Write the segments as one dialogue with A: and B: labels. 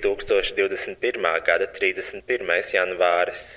A: 2021. gada 31. janvāris.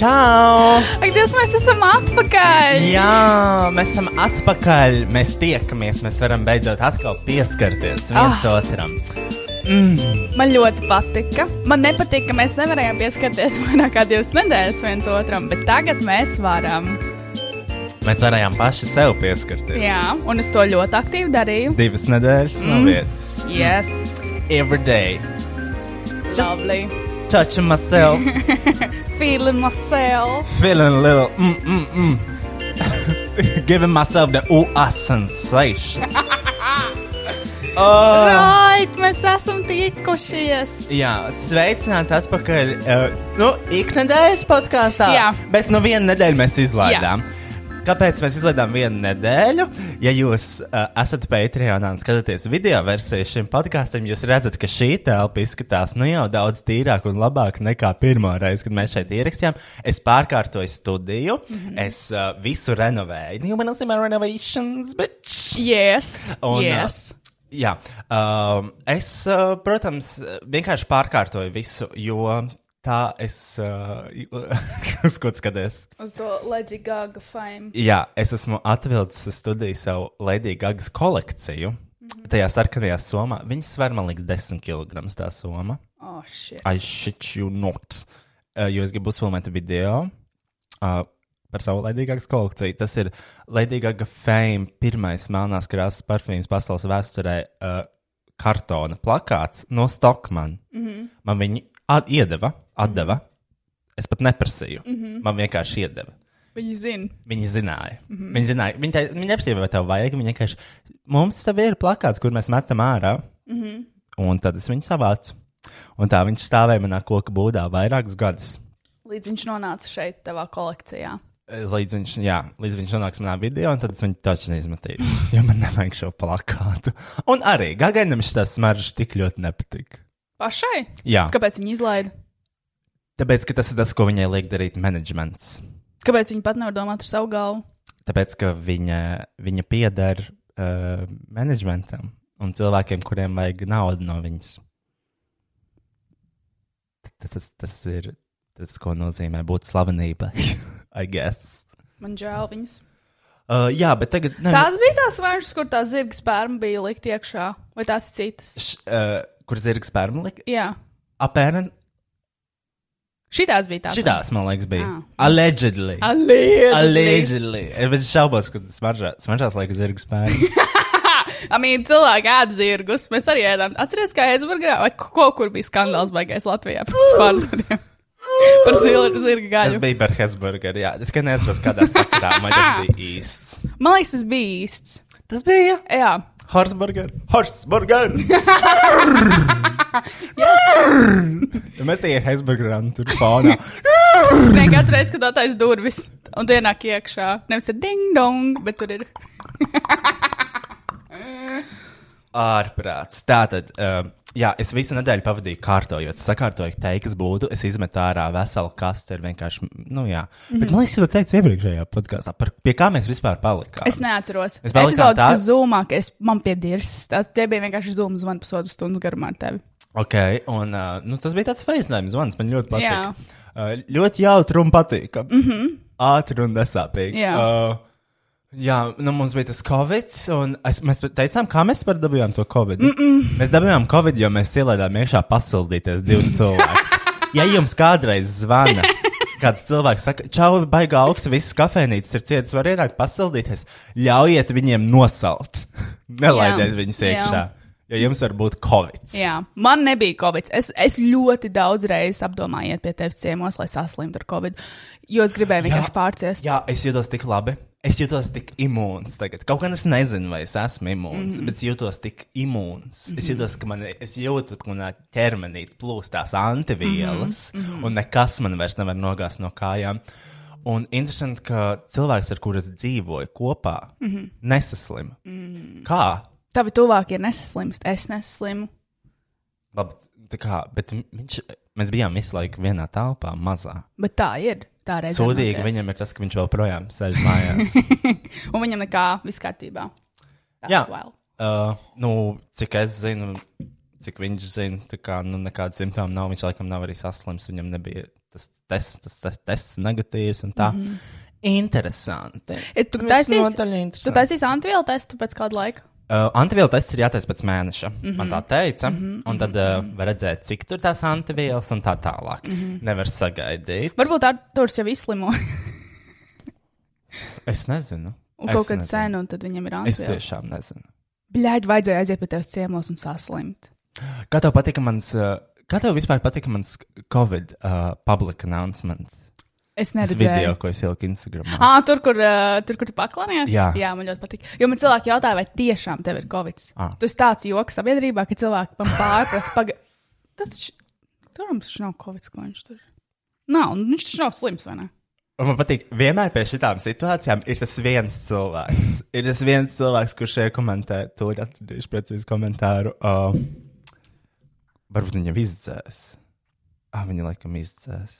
B: Čau!
C: Ak, Dievs, mēs esam atpakaļ!
B: Jā, mēs esam atpakaļ. Mēs tiekamies, mēs varam beidzot atkal pieskarties viens oh. otram.
C: Man ļoti patika. Man nepatika, ka mēs nevarējām pieskarties vairāk kā divas nedēļas viens otram, bet tagad mēs varam.
B: Mēs varējām paši sev pieskarties.
C: Jā, un es to ļoti aktīvi darīju.
B: Divas nedēļas mm. no vietas.
C: Yes,
B: Every day.
C: lovely.
B: Touching myself,
C: Feeling myself.
B: feeling a little mm mm mm. Giving myself the ooh ah sensation. oh.
C: Right, mēs esam tikušies.
B: Jā, sveicināti atpakaļ. Uh, nu, ikdienas podkāstā.
C: Jā.
B: Bet nu vienu nedēļu mēs izlaidām. Jā. Kāpēc mēs izlaidām vienu nedēļu? Ja jūs uh, esat Patreonā un skatāties video versiju šim podkāstam, jūs redzat, ka šī telpa izskatās nu jau daudz tīrāk un labāk nekā pirmā reize, kad mēs šeit ierakstījām. Es pārkārtoju studiju, mm -hmm. es uh, visu renovēju. Nu, man ir renovations, bitch!
C: Yes,
B: Un,
C: yes.
B: uh, Jā, um, es, uh, protams, vienkārši pārkārtoju visu, jo tā es. Uh, uz ko tu skaties?
C: Uz to Latvijas gāga fame.
B: Jā, es esmu atvilcis uz studiju savu Lady Gagas kolekciju. Tajā sarkanajā somā viņa sver, man liekas, 10 kg. Tā soma.
C: Oh, shit.
B: I shit you not. Uh, jo es gribu uzfilmēt video uh, par savu laidīgāku kolekciju. Tas ir Laidīgāka Fame, pirmais melnās krāsas parfīms pasaules vēsturē, uh, kartona plakāts no Stokmana. Mm -hmm. Man viņi at iedeva, atdeva. Mm -hmm. Es pat neprasīju. Mm -hmm. Man vienkārši iedeva.
C: Viņi zina.
B: Viņi zināja. Mm -hmm. Viņi zināja. Viņi, tei- viņi neprasīja, vai tev vajag. Viņi vienkārši mums tev ir plakāts, kur mēs metam ārā. Mm -hmm. Un tad es viņu savācu. Un tā viņš stāvēja manā koka būdā vairākus gadus.
C: Līdz viņš nonāca šeit, tavā kolekcijā.
B: Eh, Līdz viņš, jā, līdz viņš nonāks manā video, un tad es viņu taču neizmetīšu. jo man nevajag šo plakātu. Un arī Gagainam šis smaržs tik ļoti nepatika.
C: Pašai?
B: Jā,
C: Kāpēc viņi izlaida?
B: tāpēc, ka tas ir tas, ko viņai liek darīt menedžments.
C: Kāpēc viņi pat nevar domāt ar savu galvu?
B: Tāpēc, ka viņa, viņa pieder uh, menedžmentam un cilvēkiem, kuriem vajag naudu no viņas. Tas, tas, tas ir Tas, ko nozīmē būt slavenībai, I guess.
C: Man žēl viņas.
B: Uh, jā, bet tagad. Ne,
C: Tās bija tās vēršas, kur tā zirga spērma bija likt iekšā, vai tās ir citas?
B: š, uh, kur zirgs pērnlika?
C: Jā,
B: Apēnam.
C: šitās bija tās.
B: Šitās, man liekas, bija.
C: Ah.
B: Allegedly.
C: Allegedly.
B: Allegedly. Es šaubos, ka smaržā- smaržās laika zirgs pērnlika.
C: Amīna cilvēki ēd zirgus. Mēs arī ēdām. Atcerieties, kā aizburgā, vai ko, kur bija skandāls baigais Latvijā pirms pāris gadiem par zil- zirga
B: tas
C: gaļu.
B: bija par Hesburgeru, jā. Es tikai neatceros, kādā sakarā man tas bija īsts.
C: Man liekas, tas bija īsts.
B: Tas bija.
C: Jā,
B: Horsburger! Horsburger! Ja Mēs te ejam uz Hesburgā.
C: ne katru reizi, kad atais durvis un tu ienāk iekšā, nevis ir ding dong, bet tur ir.
B: Ārprāts. Tātad, um, jā, es visu nedēļu pavadīju kārtojot, sakārtojot teikas būdu. Es izmetu ārā veselu kastu ar vienkārši, nu jā. Bet man liekas, jau to teicu iepriekšējā podkāstā, par pie kā mēs vispār palikām.
C: Es neatceros.
B: Mēs palikām
C: Epizodes,
B: tā-
C: kas zūmā, ka es man piedirs. Tas tie bija vienkārši zūmu zvanu pusotras stundas garumā ar tevi.
B: Okay, un, uh, nu, tas bija tāds veicinājums, zvans. Man ļoti
C: Jā. Mhm.
B: patīk. Uh, ļoti jautri un patīk. Mm -hmm. Ātri un nesāpīgi.
C: Jā.
B: uh, jā nu, mums bija tas covid, un es, mēs pat teicām, kā mēs par dabījām to covid. Mm -mm. Mēs dabījām covid, jo mēs ielaidām iekšā pasildīties divus cilvēkus. ja jums kādreiz zvana. Kāds cilvēks saka, čau, baigā augsts, visas kafejnīcas ir cietas, var ienākt, pasildīties. Ļaujiet viņiem nosalt. Nelaidiet viņus
C: Jā.
B: iekšā. Jo jums var būt covid.
C: Jā, man nebija covid. Es, es ļoti daudz reizes apdomāju, iet pie tevis ciemos, lai saslimtu ar covid. Jo es gribēju vienkārši pārciest.
B: Jā, es jūtos tik labi. Es jūtos tik imūns tagad. Kaut gan es nezinu, vai es esmu imūns, mm -hmm. bet es jūtos tik imūns. Mm -hmm. Es jūtos, ka man, es jūtu, ka manā ķermenī plūstās antivielas, mm -hmm. un nekas man vairs nevar nogāzt no kājām. Un interesanti, ka cilvēks, ar kuru es dzīvoju kopā, mm -hmm. nesaslima. Mm -hmm. Kā?
C: Tavi tuvākie nesaslimst, es nesaslimu.
B: Labi, tā kā, bet viņš, mēs bijām visu laiku vienā telpā, mazā.
C: Bet tā ir. Tā reizē
B: Sūdīgi
C: notiek.
B: viņam ir tas, ka viņš joprojām sēž mājās.
C: Un viņam nekā viss kārtībā. That's
B: Jā.
C: wild.
B: Uh, nu, cik es zinu, cik viņš zina, tā kā nu, nekādas simptomas nav. Viņš laikam nav arī saslims, viņam nebija tas tests, tas, tas tests negatīvs un tā. Mm -hmm. Interesanti.
C: Mhm. Es, tu
B: Tas
C: taisīs,
B: nodaļa
C: tu
B: interesanti.
C: taisīs antivielu testu pēc kāda laika.
B: Uh, antivielu tests ir jātaisa pēc mēneša, mm -hmm.
C: Mhm.
B: man tā teica. Mm -hmm. Un tad uh, var redzēt, cik tur tās antivielas un tā tālāk. Mm -hmm. Nevar sagaidīt.
C: Mhm. Varbūt Arthurs jau izslimo
B: Es nezinu.
C: un
B: Es
C: kaut kad
B: nezinu.
C: sen, un tad viņam ir
B: Es
C: antivielu.
B: tiešām nezinu.
C: Bļaigi, vajadzēja aiziet pie tevis ciemos un saslimt.
B: Kā tev patika mans, uh, kā tev vispār patika mans Covid uh, public announcements?
C: Es
B: Tas video,
C: neredzēju.
B: ko es ieliku Instagram.
C: Ah, tur, kur, uh, tur, kur tu paklājies.
B: Jā.
C: Jā, man ļoti patīk. Jo man cilvēki jautāja, vai tiešām tev ir covid.
B: Ah.
C: Tu esi tāds joks sabiedrībā, ka cilvēki man pārprasa, paga... tas taču, tur mums taču nav covid, ko viņš tur. Nav, un viņš taču nav slims, vai ne?
B: Un man patīk, vienmēr pie šitām situācijām ir tas viens cilvēks. Ir tas viens cilvēks, kurš šeit komentē, to atradīšu precīzi komentāru. Uh, varbūt viņam izdzēs. Ah, viņa laikam izdzēs.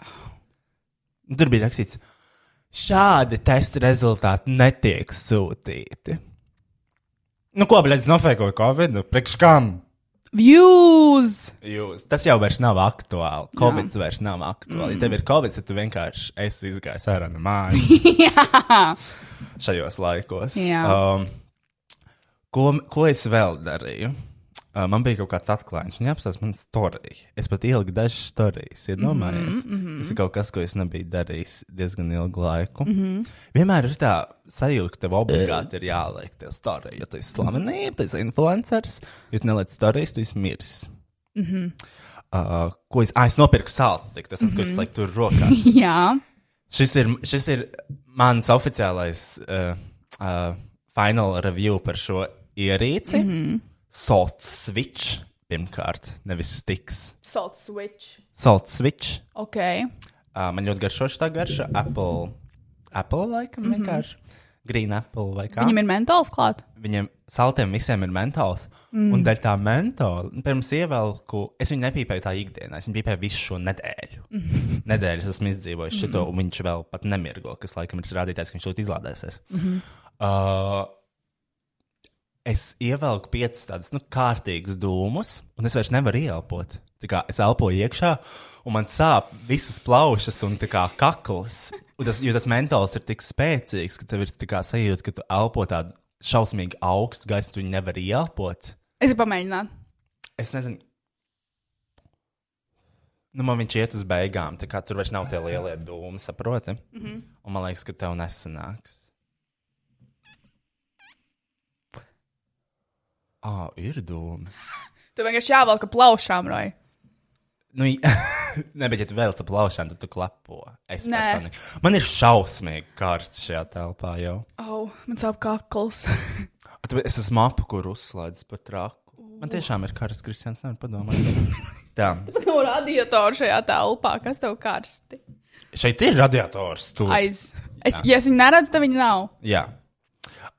B: Tur bija rakstīts, šādi testa rezultāti netiek sūtīti. Nu, ko, blēdz, nofēkoju Covid? Nu, priekš kam?
C: Views!
B: Jūs. Tas jau vairs nav aktuāli. Covid vairs nav aktuāli. Ja tev ir Covid, tad tu vienkārši esi izgājis ārā no mājas.
C: Jā!
B: šajos laikos.
C: Jā.
B: Um, ko, ko es vēl darīju? Uh, man bija kaut kāds atklājums, viņa apstāsta man storiju. Es pat ieliku dažas storijas, iedomājieties. Mm -hmm. Tas ir kaut kas, ko es nebiju darījis diezgan ilgu laiku. Mm -hmm. Vienmēr ir tā sajūta, ka tev obligāti ir jāliek tie storija. Jo tu esi slavenība, tu esi influenceris, ja tu neliec storijas, tu esi miris. Mm -hmm. uh, ko es, ah, es nopirku sāls, tas, tas, mm -hmm. ko es laiku tur rokās.
C: Jā!
B: Šis ir, šis ir mans oficiālais uh, uh, final review par šo ierīci. Mm -hmm. Salt switch, pirmkārt, nevis stiks.
C: Salt switch.
B: Salt switch.
C: Ok.
B: Uh, man ļoti garšo šī garša. Apple, Apple laikam mm -hmm. vienkārši. Green apple vai kā.
C: Viņam ir mentāls klāt.
B: Viņiem saltiem visiem ir mentāls. Mm. Un daļa tā mentāla, pirms ievelku, es viņu nepīpēju tā ikdienā. Es viņu pīpēju visu šo nedēļu. Mm. Nedēļas esmu izdzīvojis mm. šito, un viņš vēl pat Mm-hmm. nemirgo, kas laikam ir tas rādītājs, ka viņš ļoti izlādēsies. Mm. Uh, es ievelku piecus tādus nu, kārtīgus dūmus, un es vairs nevaru ieelpot. Tā kā es elpoju iekšā, un man sāp visas plaušas un tā kā kakls. Un tas, jo tas mentāls ir tik spēcīgs, ka tev ir tā kā sajūta, ka tu elpo tādu šausmīgi augstu gaisu, tu nevari ieelpot.
C: Es gribu pamēģināt.
B: Es nezinu. Nu, man viņš iet uz beigām, tā kā tur vairs nav tie lielie dūmi, saproti? Mm -hmm. Un man liekas, ka tev nesanāks. Ah, ir dūmi.
C: Tu vienkārši jāvelk ar plaušām, Roja.
B: Nu, jā. Nē, bet, ja tu vēl aplaušām, tad tu klepo. Es
C: Nē.
B: personīgi. Man ir šausmīgi karsts šajā telpā jau.
C: Oh, man sāp kakls.
B: Tu- Es esmu apkurus uzslēdzis pat traku. Man tiešām ir karsts, Kristians, nevar padomāt. Tā.
C: no radiatora šajā telpā, kas tev karsti.
B: Šeit ir radiators. Tu.
C: Aiz. Es, ja es viņu neredzu, tad viņa nav.
B: Jā.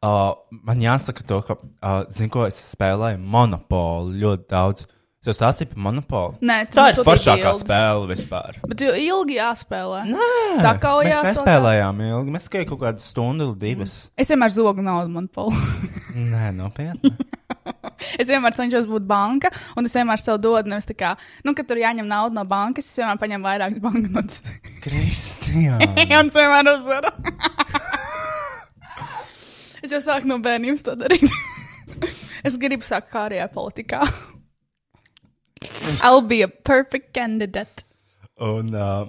B: Uh, man jāsaka, to, ka, uh, zinu, ko es spēlēju monopolu ļoti daudz. Es jau stāstīju par monopolu.
C: Nē, tu
B: tā ir
C: mums sūtīji
B: foršākā
C: bildes.
B: spēle vispār.
C: Bet jau ilgi jāspēlē.
B: Nē,
C: Sakaujās
B: Mēs
C: vēl
B: nespēlējām ilgi. Mēs tikai kaut kādu stundu, divas.
C: Es vienmēr zogu naudu monopolu.
B: Mm. Nē, nopietni.
C: es vienmēr cenšos būt banka, un es vienmēr sev dodu, nevis tā kā, nu, ka tur jāņem nauda no bankas, es vienmēr paņemu vairākas banknotes.
B: Kristija.
C: un es vienmēr uzvaru. es jau sāku no bērnības to darīt. es gribu sākt kārjā politikā. I'll be a perfect candidate.
B: Un, uh,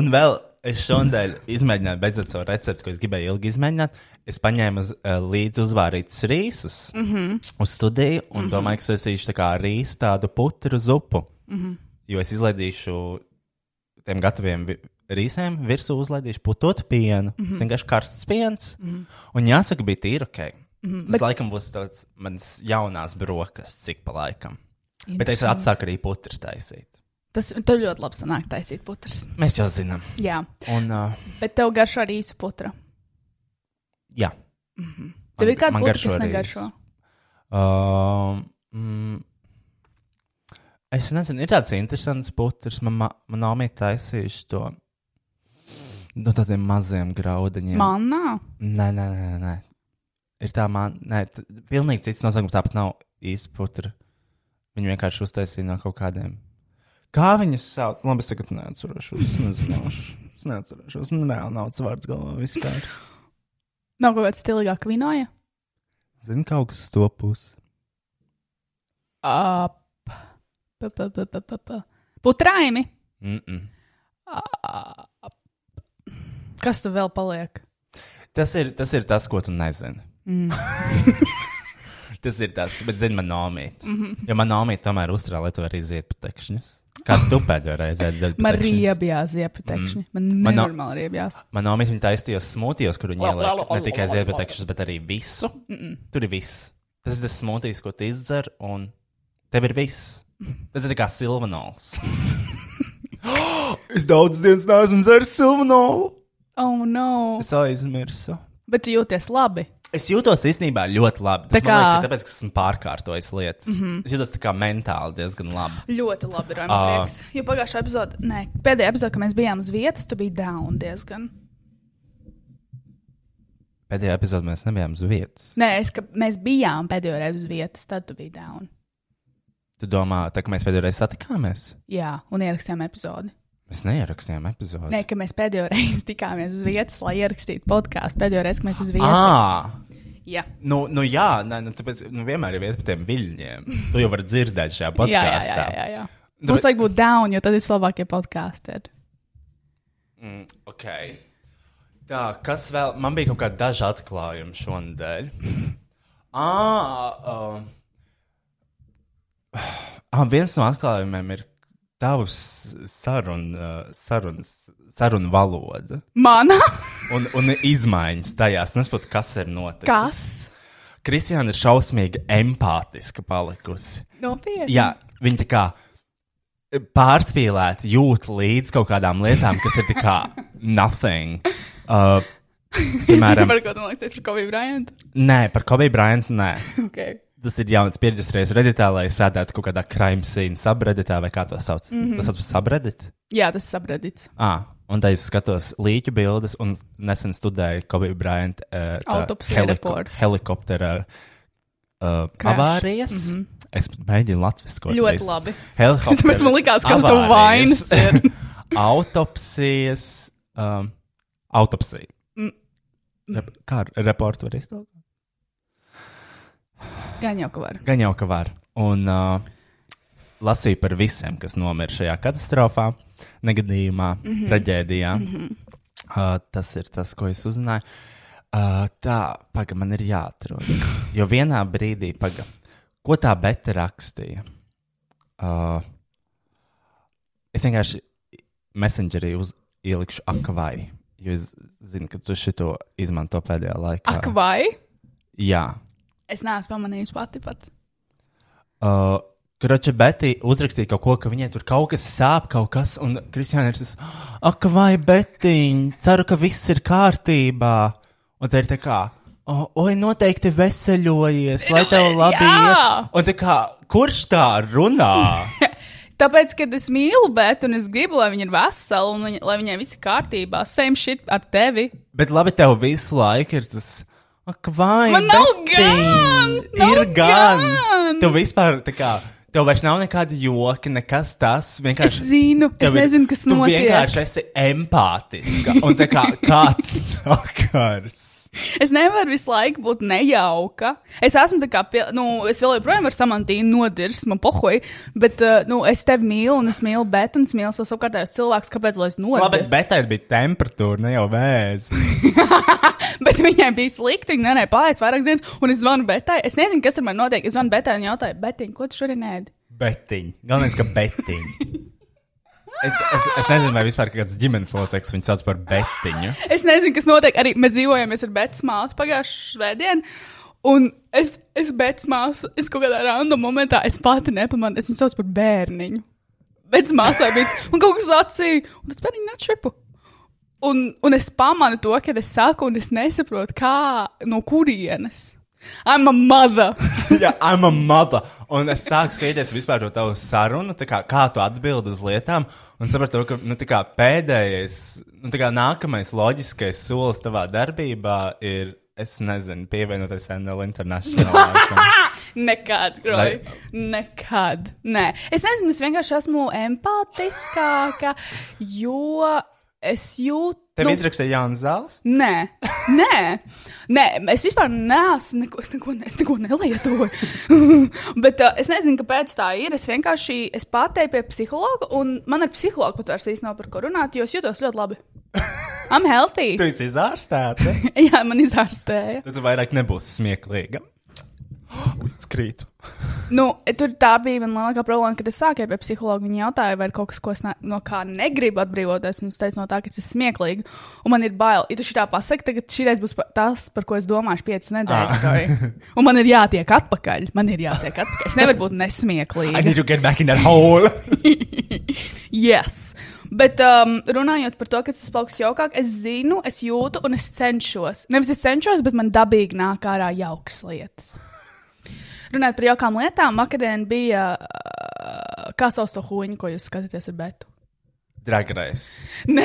B: un vēl es šodien izmēģināju, beidzot, savu recepti, ko es gribēju ilgi izmēģināt. Es paņēmu uz, uh, līdzi uzvārītus rīsus mm -hmm. uz studiju un mm -hmm. domāju, ka es esīšu tā kā rīsu tādu putru zupu. Mm -hmm. Jo es izlaidīšu tiem gataviem vi- rīsēm, virsū uzlaidīšu putotu pienu. Tas mm -hmm. vienkārši karsts piens. Mm -hmm. Un jāsaka, bija tīri ok. Mm -hmm. Tas, Bet... laikam, būs tāds mans jaunās brokastis, cik pa laikam. Bet es atsāku arī putru taisīt.
C: Tas tev ļoti labi sanāk taisīt putras.
B: Mēs jau zinām.
C: Jā,
B: Un, uh,
C: bet tev garšo arī īsa putra.
B: Jā.
C: Tev ir
B: Man-
C: kāda
B: man
C: putra,
B: garšo
C: kas
B: arī
C: negaršo.
B: es. Um, mm, es nezinu, ir tāds interesants putekļs. Manā mamā taisījuši to no tādiem maziem graudiņiem.
C: Man nav.
B: Nē, nē, nē, nē. Ir tā, man. Nē, t- pilnīgi cits nosaukums tāpat nav īsti putekļi. Viņu vienkārši uztaisīja no kaut kādiem. Kā viņas sauc? Labi, es tagad neatceros. Es nezināšu. Es neatceros. Man nav naudas vārds galvā vispār.
C: Nav kaut kāda stilīgāka vinoja.
B: Zinu kaut kas to pusi.
C: Ap. Pa, pa, pa, pa, pa, pa. Putraimi.
B: Mm -mm.
C: Kas tu vēl paliek?
B: Tas ir, tas ir tas, ko tu nezini. Mm. tas ir tas, bet zini, man nomīt. Mm -hmm. Jo man nomīt tomēr uzturā, lai tu vari iziet patekšņus. Kā tu pēdējo reizi aizdzēri?
C: Man riebjās iepatekšņi. Mm. Man
B: Man nav-
C: nenormāli riebjās.
B: Man nomīt viņa taisījās smūtijos, kur viņa
C: Labu,
B: ieliek
C: labu,
B: ne tikai
C: labu, labu,
B: ziedpatekšņus, bet arī visu. Mm -mm. Tur ir viss. Tas ir tas smūtijs, ko tu izdzer, un tev ir viss. Tas ir tā kā silvanols. es daudz dienas neesmu dzēris silvanolu.
C: Oh, no.
B: Es aizmirsu.
C: Bet tu jūties labi.
B: Es jūtos īstenībā ļoti labi.
C: Tā
B: Tas, kā... man
C: kā- Mhm.
B: liekas, ir tāpēc, ka esmu pārkārtojis lietas. Mm -hmm. Es jūtos tā kā mentāli diezgan labi.
C: Ļoti labi, Rāmī.
B: Ā.
C: Uh. Jo pagājušā epizode, nē, pēdējā epizode, kad mēs bijām uz vietas, tu biji down diezgan.
B: Pēdējā epizodē mēs nebijām uz vietas.
C: Nē, es, ka mēs bijām pēdējo reizi uz vietas, tad tu biji down.
B: Tu domā, tā kā mēs pēdējo reizi satikāmies?
C: Jā, un ierakstījām epizodi.
B: Mēs neierakstījām epizodi.
C: Nē, ka mēs pēdējo reizi tikāmies uz vietas, lai ierakstītu podkāstu. Pēdējo reizi, kad mēs uz vietas.
B: À,
C: Jā,
B: nu, nu jā, nē, nu, tāpēc nu, vienmēr ir vieta par tiem viļņiem. To jau var dzirdēt šajā
C: jā, jā, jā, jā,
B: podkāstā.
C: jā, jā. Mums vajag būt down, jo tad ir vislabākie podkāsteri.
B: Mm, ok. Tā, kas vēl? Man bija kaut kāda daža atklājuma šonadēļ. Ah, um, ah, viens no atklājumiem ir tavs sarun, uh, sarunas, sarunu valoda
C: Mana?
B: un, un izmaiņas tajās. Es nesaprotu, kas ir noticis.
C: Kas?
B: Kristiāna ir šausmīgi empātiska palikusi.
C: Nopietni.
B: Jā, viņa tā kā pārspīlēti jūt līdz kaut kādām lietām, kas ir tā kā nothing. Uh,
C: Piemēram,
B: piemēram,
C: par ko tu man liekas, tas ir Kobe Bryant?
B: nē, par Kobe Bryantu nē.
C: Okay.
B: Tas ir jauns pieredzes reizes redītā, lai sēdētu kaut kādā crime scene subreditā vai kā to sauc. Mm
C: Mhm.
B: -hmm. Tas sauc par subredit.
C: Jā, tas ir sabredīts.
B: Ah, un tā es skatos līķu bildes un nesen studēju Kobe Bryantu uh, tā
C: Autopsija reportu.
B: helikoptera uh,
C: Crash. Mhm.
B: avārijas. Mm -hmm. Es mēģinu latviskot.
C: Ļoti
B: reiz.
C: labi.
B: Helikopteri,
C: Tāpēc man likās, kas tev
B: avārijas,
C: vainas
B: autopsijas. Um, autopsija.
C: Mm.
B: Rep, kā ar reportu var izteikt?
C: Gan jau, ka var.
B: Gan jau, ka var. Un uh, lasīju par visiem, kas nomira šajā katastrofā, negadījumā, mm
C: Mhm.
B: -hmm. traģēdijā. Mm -hmm. uh, tas ir tas, ko es uzzināju. Uh, tā, pagaidi, man ir jāatrod. Jo vienā brīdī, pagaidi, ko tā beta rakstīja? Uh, es vienkārši messengerī uz, ielikšu akvai, jo es zinu, ka tu šito izmanto pēdējā laikā.
C: Ak, vai?
B: Jā.
C: Es neesmu pamanījusi pati pat.
B: Uh, Kroča Betī uzrakstīja kaut ko, ka viņai tur kaut kas sāp, kaut kas, un Kristiāna ir tas, ak, vai Betiņ, ceru, ka viss ir kārtībā. Un tā ir tā kā, "O, oi, noteikti veseļojies, lai tev labi
C: Jā!
B: iet. Un tā kā, kurš tā runā?
C: Tāpēc, kad es mīlu Bētu, un es gribu, lai viņa ir vesela, un viņa, lai viņai viss ir kārtībā, same shit ar tevi.
B: Bet labi, tev visu laiku ir tas. Ak, vai,
C: Man nav
B: Betiņ,
C: gan,
B: Ir
C: nav
B: gan!
C: gan.
B: Tu vispār, tā kā, tev vairs nav nekāda joka, nekas tas.
C: Es
B: Vienkārši
C: zinu, es
B: Tev ir-
C: nezinu, kas
B: tu
C: notiek.
B: vienkārši esi empātiska. Un tā kā kāds sakars.
C: Es nevaru visu laiku būt nejauka. Es esmu tā kā, pie, nu, es vēl joprojām ar samantīnu nodirs, man pohoj, bet, uh, nu, es tevi mīlu, un es mīlu Bētu, un es mīlu savus apkārtējos cilvēkus, kāpēc, lai es
B: Labi,
C: nodarbotos.
B: bet tā bija temperatūra, ne jau vēzis.
C: Bet viņai bija slikti, viņa nenāca pāri vairākas dienas, un es zvanu Betai. Es nezinu, kas ar mani notiek. Es zvanu Betai un jautāju, Betiņ, ko tu šodien ēdi?
B: Betiņ. Galvenais, ka betiņ. Es, es, es nezinu, vai vispār kāds ģimenes loceklis viņu sauc par betiņu.
C: Es nezinu, kas notiek. Arī mēs dzīvojamies ar Betas māsu pagājušā svētdienā. Un es, es Betas māsu, es kaut kādā random momentā, es pati nepamanu, es viņu saucu par bērniņu. Betas māsai bija, tas, un kaut kas acīja, un tas bērniņš atšķirpa. Un, un es pamanu to, kad es saku, un es nesaprotu, kā, no kurienes. I'm a mother.
B: Jā, I'm a mother. Un es sāku skatīties vispār to tavu sarunu, tā kā, kā tu atbildi uz lietām. Un sapratu, ka nu, tā kā pēdējais, nu, tā kā nākamais loģiskais solis tavā darbībā ir, es nezinu, pievienoties NL International.
C: Nekad, Roy. Nekad. Nē, es nezinu, es vienkārši esmu empātiskāka, jo es jūtu.
B: Tev nu. izrakstīja Jānis Zāles?
C: Nē, nē, nē, es vispār neesmu, neko, es neko, es neko nelietoju. Bet uh, es nezinu, kāpēc tā ir. Es vienkārši es pateicu pie psihologa, un man ar psihologu pat vairs īsti nav par ko runāt, jo es jūtos ļoti labi. I'm healthy.
B: Tu esi izārstēts. eh?
C: Jā, man izārstēja.
B: Tad tu vairs nebūsi smieklīga. Ui, Skrītu.
C: Nu, tur tā bija mana lielākā problēma, kad es sāku iet pie psihologa. Viņa jautāja, vai ir kaut kas, ko es ne, no kā negribu atbrīvoties. Un es teicu, no tā, ka tas ir smieklīgi. Un man ir bail, ja tu šitā pasaki, tagad šī reize būs pa- tas, par ko es domāšu piecas nedēļas. Roy. Un man ir jātiek atpakaļ. Man ir jātiek atpakaļ. Es nevaru būt
B: I
C: nesmieklīga.
B: need to get back in that hole.
C: Yes. Bet um, runājot par to, ka tas paliks jaukāk, es zinu, es jūtu un es cenšos. Nevis es cenšos, bet man dabīgi nāk ārā jauks lietas. Runājot par jaukām lietām, vakardien bija uh, kā sauso huņu, ko jūs skatāties ar betu.
B: Dragrais.
C: Nē,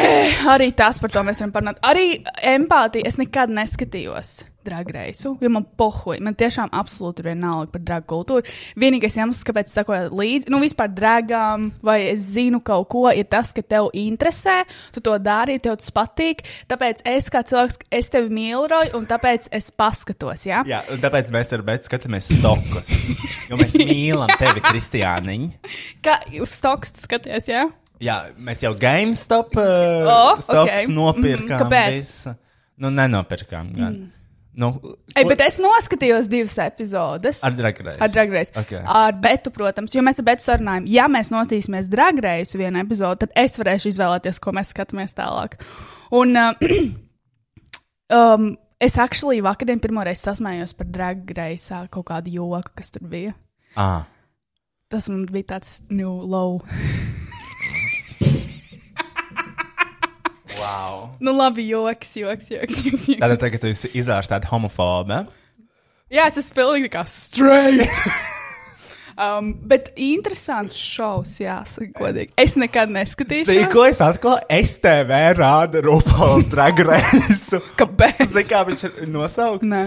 C: arī tas par to mēs varam parunāt. Arī empātija. Es nekad neskatījos dragreisu, jo man pohuļ. Man tiešām absolūti ir vienalga par dragu kultūru. Vienīgais iemesls, kāpēc es sakoju līdzi, nu vispār dragām vai es zinu kaut ko, ir tas, ka tev interesē, tu to dari, tev tas patīk. Tāpēc es kā cilvēks, es tevi mīlu, Roy, un tāpēc es paskatos. Ja?
B: Jā, un tāpēc mēs ar Bētu skatāmies stokus. Jo mēs mīlam tevi, Kristiāniņ.
C: Kā stoks tu skaties? Ja?
B: Jā, mēs jau GameStop uh,
C: O,
B: oh, stokus
C: ok.
B: okay. nopirkām.
C: Mhm, kāpēc?
B: Visu. Nu, nenopirkām. Gan. Mm. Nu,
C: Ei,
B: ko-
C: bet es noskatījos divas epizodes.
B: Ar dragrais.
C: Ar dragreisu.
B: Okay.
C: Ar betu, protams, jo mēs ar betu sarunājam, ja mēs nostīsimies dragreisu vienā epizodē, tad es varēšu izvēlēties, ko mēs skatāmies tālāk. Un uh, um, es actually vakardien pirmo reizi sasmējos par dragreisā kaut kādu joku, kas tur bija.
B: Ah.
C: Tas man bija tāds new low.
B: Wow.
C: nu, labi, joks, joks, joks. joks, joks.
B: Tātad tagad tu esi izārstēta homofobe.
C: Jā, es esmu pilnīgi kā straight. Um, bet interesants šovs, jāsaka, godīgi. Es nekad
B: Zini,
C: neskatīšos.
B: ko es atklāju? STV rāda Rūpalu dragreisu.
C: Kāpēc?
B: Zini, kā viņš ir nosaukts?
C: Nē.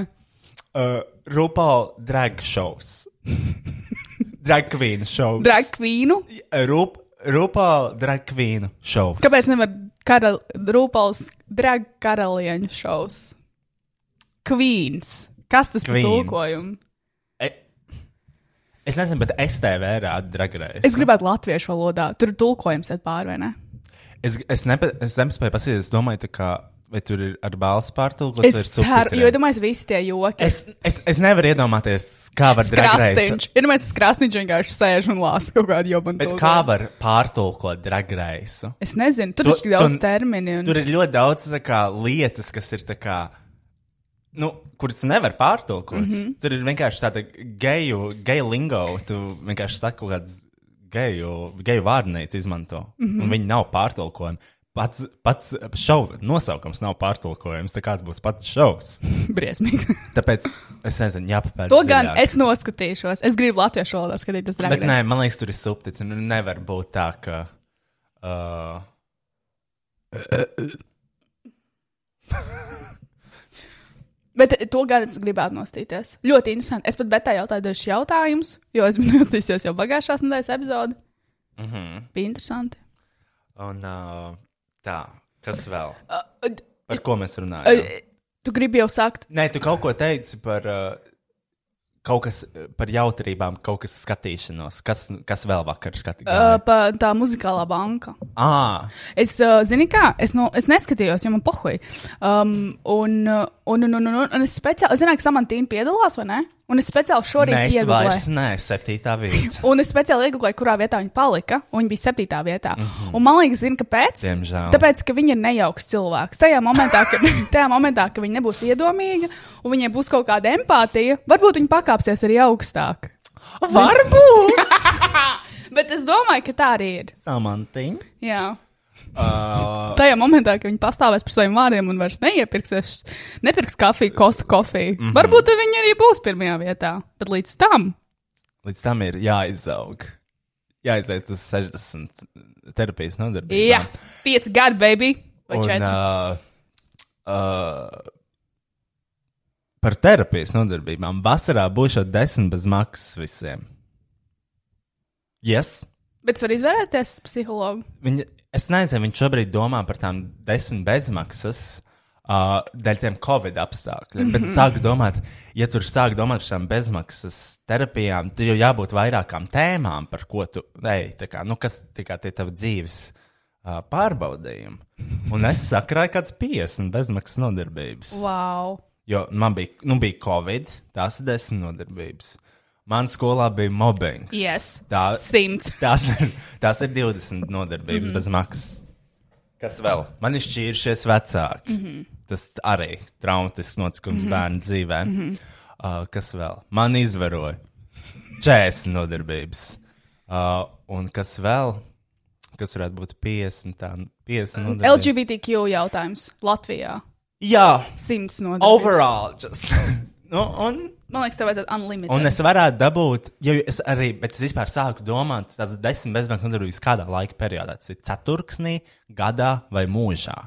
B: Uh, RuPaul drag shows. drag queen shows.
C: Drag queenu.
B: Rup, RuPaul drag queen shows.
C: Kāpēc nevar karal, Rūpals drag karalieņu šovs? Queens. Kas tas par
B: Queens.
C: tulkojumu?
B: E, Es nezinu, bet STV rāda drag race.
C: Es gribētu latviešu valodā. Tur tulkojums iet pāri, vai ne?
B: Es, es, nepa, es nespēju pasīties, es domāju, tā kā, vai tur ir ar balsu pārtulkots,
C: Es
B: vai ar
C: ceru, jo
B: subtitriem.
C: es domāju, visi tie joki.
B: Es, es, es nevaru iedomāties, kā var drag race.
C: Krasniņš. Ir mēs krasniņš vienkārši sēž un lāsa kaut kādu jobu.
B: Bet kā var pārtulkot drag race?
C: Es nezinu, tur
B: Tu-
C: ir tik daudz
B: tu-
C: terminu. Un...
B: Tur ir ļoti daudz tā kā, lietas, kas ir tā kā. Nu, kur tu nevari pārtulkot? Mm
C: Mhm.
B: -hmm. Tur ir vienkārši tāda geju, geju lingo. Tu vienkārši saki, kaut kādas geju, geju vārnīcas izmanto. Mm
C: Mhm.
B: -hmm. Un viņi nav pārtulkojami. Pats, pats šova nosaukums nav pārtulkojams. Tā kāds būs pats šovs.
C: Briesmīgi.
B: Tāpēc es nezinu, jāpapēta.
C: to gan es noskatīšos. Es gribu latviešu valodā skatīties
B: Bet
C: drāmas.
B: nē, man liekas, tur ir subtits. Nu, nevar būt tā, ka. Uh...
C: Bet to gan es gribētu nostīties. Ļoti interesanti. Es pat betā jautāju dažus jautājumus, jo es biju nostīsies jau pagājušās nedēļas epizodē.
B: Mm -hmm.
C: Bija interesanti.
B: Un uh, tā, kas vēl?
C: Uh, uh,
B: Par ko mēs runājam?
C: uh, tu gribi jau sākt?
B: Nē, tu kaut ko teici par uh, kaut kas uh, par jautrībām, kaut kas skatīšanos. Kas, kas vēl vakar
C: Uh,
B: skatījās?
C: pa- tā muzikālā banka.
B: Uh, ah,
C: Es, uh, zini, kā, es, no, es neskatījos, jo man pohoja. Um, un, uh, un, un, un, un, un es speciāli, zināju, ka Samantīna piedalās, vai ne? Un es speciāli šorīt
B: nē, es vairs
C: ieguvēju.
B: nē, septītā vieta.
C: Un es speciāli ieguvēju, kurā vietā viņa palika. un Viņa bija septītā vietā. Mm -hmm. Un man liekas, zina, kāpēc?
B: Mhm. Diemžēl.
C: Tāpēc, ka viņa ir nejauks cilvēks. Tajā momentā, ka, tajā momentā, ka viņa nebūs iedomīga un viņai būs kaut kāda empātija, varbūt viņa pakāpsies arī augstāk.
B: Varbūt!
C: Bet es domāju, ka tā arī ir.
B: Samantiņ.
C: Jā.
B: Uh,
C: Tajā momentā, kad viņi pastāvēs par saviem vārdiem un vairs neiepirksies, nepirks kafiju, kostu kofiju.
B: Mhm.
C: Mm -hmm. Varbūt tad viņi arī būs pirmajā vietā. Bet līdz tam
B: līdz tam ir jāizaug. Jāiziet uz 60 terapijas nodarbībām.
C: jā, pieci gadi, baby. Vai
B: Un,
C: četri?
B: uh, uh, par terapijas nodarbībām. Vasarā būšu desmit bez maksas visiem. Yes.
C: Bet var izvēlēties psihologu.
B: Viņa, es nezinu, viņš šobrīd domā par tām desmit bezmaksas. Uh, dēļ tiem covid apstākļiem. Mm -hmm. Bet sāk domāt, ja tur sāk domāt par šīm bezmaksas terapijām, tad jau jābūt vairākām tēmām, par ko tu ej. tā Kā, nu, kas tā kā tie tavi dzīves uh, pārbaudījumi? Un es sakrāju kāds 50 bezmaksas nodarbības.
C: Wow.
B: Jo man bija, nu, bija covid, tās ir desmit nodarbības. Man skolā bija mobbings.
C: Yes.
B: Tā,
C: Simts.
B: Tās ir, tās ir 20 nodarbības mm -hmm. bez maksas. Kas vēl? Man ir šķīrušies vecāki. Mm -hmm. Tas arī traumatisks notikums mm -hmm. bērnu dzīvē. Mm -hmm. uh, kas vēl? Man izvaroja 40 nodarbības. Uh, un kas vēl? Kas varētu būt 50? tā- 50 nodarbības?
C: LGBTQ jautājums Latvijā.
B: Jā,
C: Simts no
B: overall. Just. nu, un
C: Man liekas, tev vajadzētu unlimited.
B: Un es varētu dabūt, jo es arī, bet es vispār sāku domāt, tas desmit bezmaksas nodarbības kādā laika periodā. Tas ir ceturksnī, gadā vai mūžā.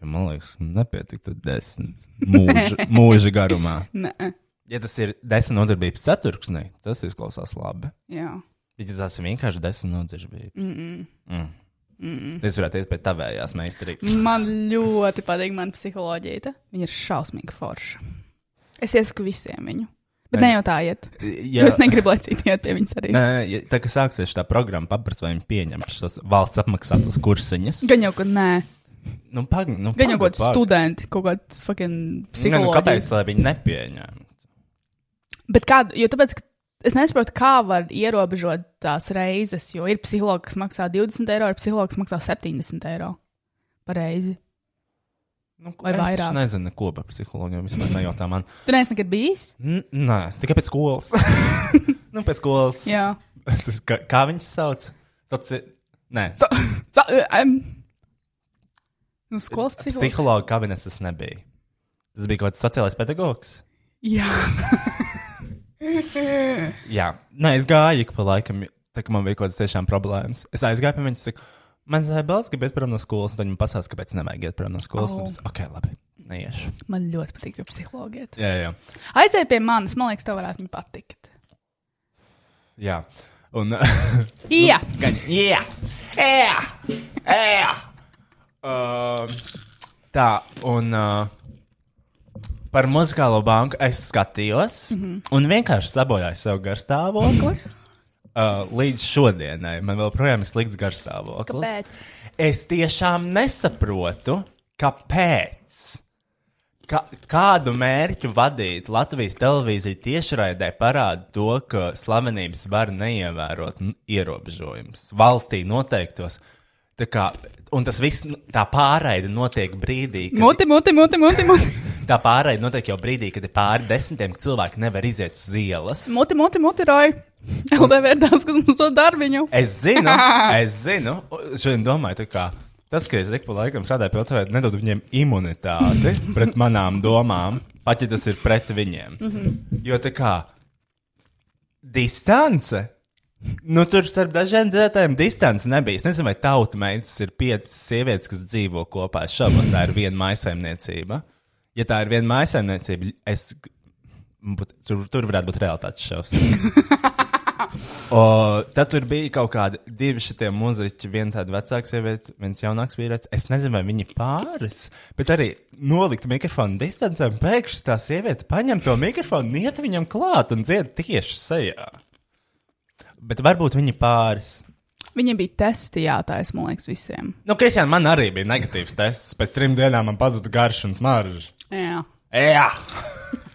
B: Jo man liekas, nepietiktu desmit mūža, mūža garumā.
C: Nē,
B: Ja tas ir desmit nodarbības ceturksnī, tas izklausās labi.
C: jā.
B: Bet, ja tas ir vienkārši desmit nodarbības, mm -mm. Mm. Mm. es varētu iet pie tavējās meistarības.
C: Man ļoti patīk mana psiholoģija. te. Viņa ir šausmīga forša. Es iesaku visiem viņu. Bet ne jau tā iet.
B: Jā,
C: Jā. Mm. Es negribu, lai citi iet pie viņas arī. Ne.
B: Nē, ja- tā kā sāksies tā programma, paprasti, vai viņi pieņem šos valsts apmaksātos kursiņus.
C: Gan jau, ka nē.
B: Nu, pag, nu,
C: Gan
B: pag-
C: jau kaut kādi
B: pag.
C: studenti, kaut kāds fucking
B: Nē, nu, kāpēc
C: psihologs.
B: lai viņi nepieņem?
C: Bet kādu, jo tāpēc, ka es nesaprotu, kā var ierobežot tās reizes, jo ir psihologs, kas maksā 20 eiro, ir psihologs, kas maksā 70 eiro par reizi.
B: Nu,
C: Vai
B: es taču
C: vairāk?
B: nezinu, neko par psihologiem. Vispār nejautā man.
C: Tu neesi nekad bijis?
B: N nē, tikai pēc skolas. nu, pēc skolas.
C: Jā.
B: Es esmu- kā, kā viņas sauc? Sauc, nē,
C: So, so, um, nu, skolas psihologs.
B: psihologa kabinets tas nebija. Tas bija kaut kāds sociālais pedagogs.
C: Jā.
B: Jā, nē, es gāju ik pa laikam, tā kā man bija kaut kādas tiešām problēmas. Es aizgāju pie viņas, saku, man zina, Bēlis, ka iet prom no skolas, un viņi man pasaka, kāpēc nevajag iet prom no skolas.
C: Oh.
B: Oh. Es, ok, labi. neiešu.
C: Man ļoti patīk, ka psihologi iet.
B: Jā, jā.
C: Aizej pie manis, man liekas, tev varētu viņa patikt.
B: jā. Un,
C: Jā,
B: Gan jā, jā, jā. Um, Tā, un uh, par muzikālo banku es skatījos, mm -hmm. un vienkārši sabojāju savu garstāvokli. Uh, līdz šodienai man joprojām ir slikts garstāvoklis.
C: Kāpēc?
B: Es tiešām nesaprotu, kāpēc. Kā, kādu mērķu vadīt Latvijas televīzija tiešraidē parāda to, ka slavenības var neievērot n- ierobežojumus valstī noteiktos. Tā kā, un tas viss, nu, tā pārraide notiek brīdī, kad,
C: muti, muti, muti, muti, muti,
B: tā pārraide notiek jau brīdī, kad ir pāri desmitiem ka cilvēki nevar iziet uz ielas.
C: muti, muti, muti roju. LDV ir daudz, kas mums to darbiņu.
B: Es zinu, es zinu, un šodien domāju, tā kā. Tas, ka es ik pa laikam strādāju pie otrā, nedod viņiem imunitāti pret manām domām, pat ja tas ir pret viņiem. Mm -hmm. Jo tā kā distance. Nu, tur starp dažiem dzirdētājiem distance nebija. Es nezinu, vai tautsmeitas ir piecas sievietes, kas dzīvo kopā. Es šaubos, tā ir viena maisaimniecība. Ja tā ir viena maisaimniecība, es. Būt, tur, tur varētu būt realitātes šovs. O, tad tur bija kaut kādi divi šitie muzeķi, viena tāda vecāka sieviete, viens jaunāks vīrietis. Es nezinu, vai viņi pāris, bet arī nolikt mikrofonu distancē, un pēkšņi tā sieviete paņem to mikrofonu, iet viņam klāt un dzied tieši sejā. Bet varbūt viņi pāris.
C: Viņiem bija testi jātais, man liekas, visiem.
B: Nu, Kristian, man arī bija negatīvs tests. Pēc trim dienām man pazuda garš un smarža.
C: Jā.
B: Jā!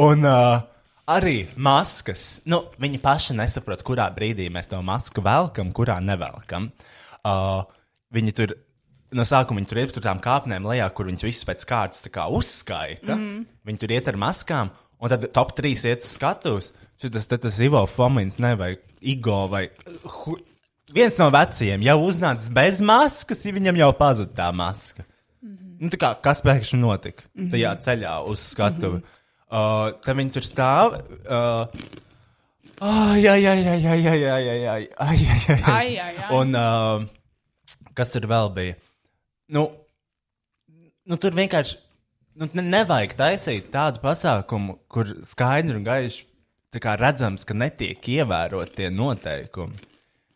B: Un uh, arī maskas. Nu, viņi paši nesaprot, kurā brīdī mēs to masku velkam, kurā nevelkam. Uh, viņi tur no sākuma viņi tur iet uz tām kāpnēm lejā, kur viņas visas pēc kārtas tā kā uzskaita. Mm. Viņi tur iet ar maskām, un tad top 3 iet uz skatuves. Šis te tas Ivo Fomins, ne, vai Igo vai. uh, Hu... Viens no vecajiem jau uznācis bez maskas, ja viņam jau pazuda tā maska. Nu, tā kā, kas pēkšņi notika tajā
C: Mhm.
B: ceļā uz skatuvi? Mm -hmm. uh, tad viņi tur stāv. Uh, Ah, Ai, ai, ai, ai, ai, ai, ai, ai, ai, ai, ai,
C: Ai, ai, ai.
B: Un uh, kas tur vēl bija? Nu, nu tur vienkārši nu, ne, nevajag taisīt tādu pasākumu, kur skaidri un gaiši tā kā redzams, ka netiek ievērot tie noteikumi.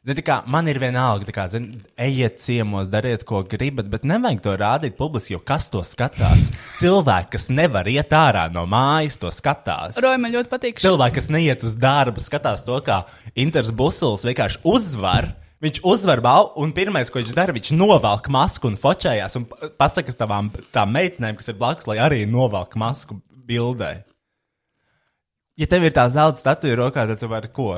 B: Zini, tā kā, man ir vienalga, tā kā, zin, ejiet ciemos, dariet, ko gribat, bet nevajag to rādīt publiski, jo kas to skatās? Cilvēki, kas nevar iet ārā no mājas, to skatās.
C: Roja man ļoti patīk. šī-
B: Cilvēki, kas neiet uz darbu, skatās to, kā Inters Busls vienkārši uzvar. Viņš uzvar balvu, un pirmais, ko viņš dara, viņš novelk masku un focējās. Un pa- pasakas tavām tām meitenēm, kas ir blakus, lai arī novelk masku bildē. Ja tev ir tā zelta statuja rokā, tad tu vari ko?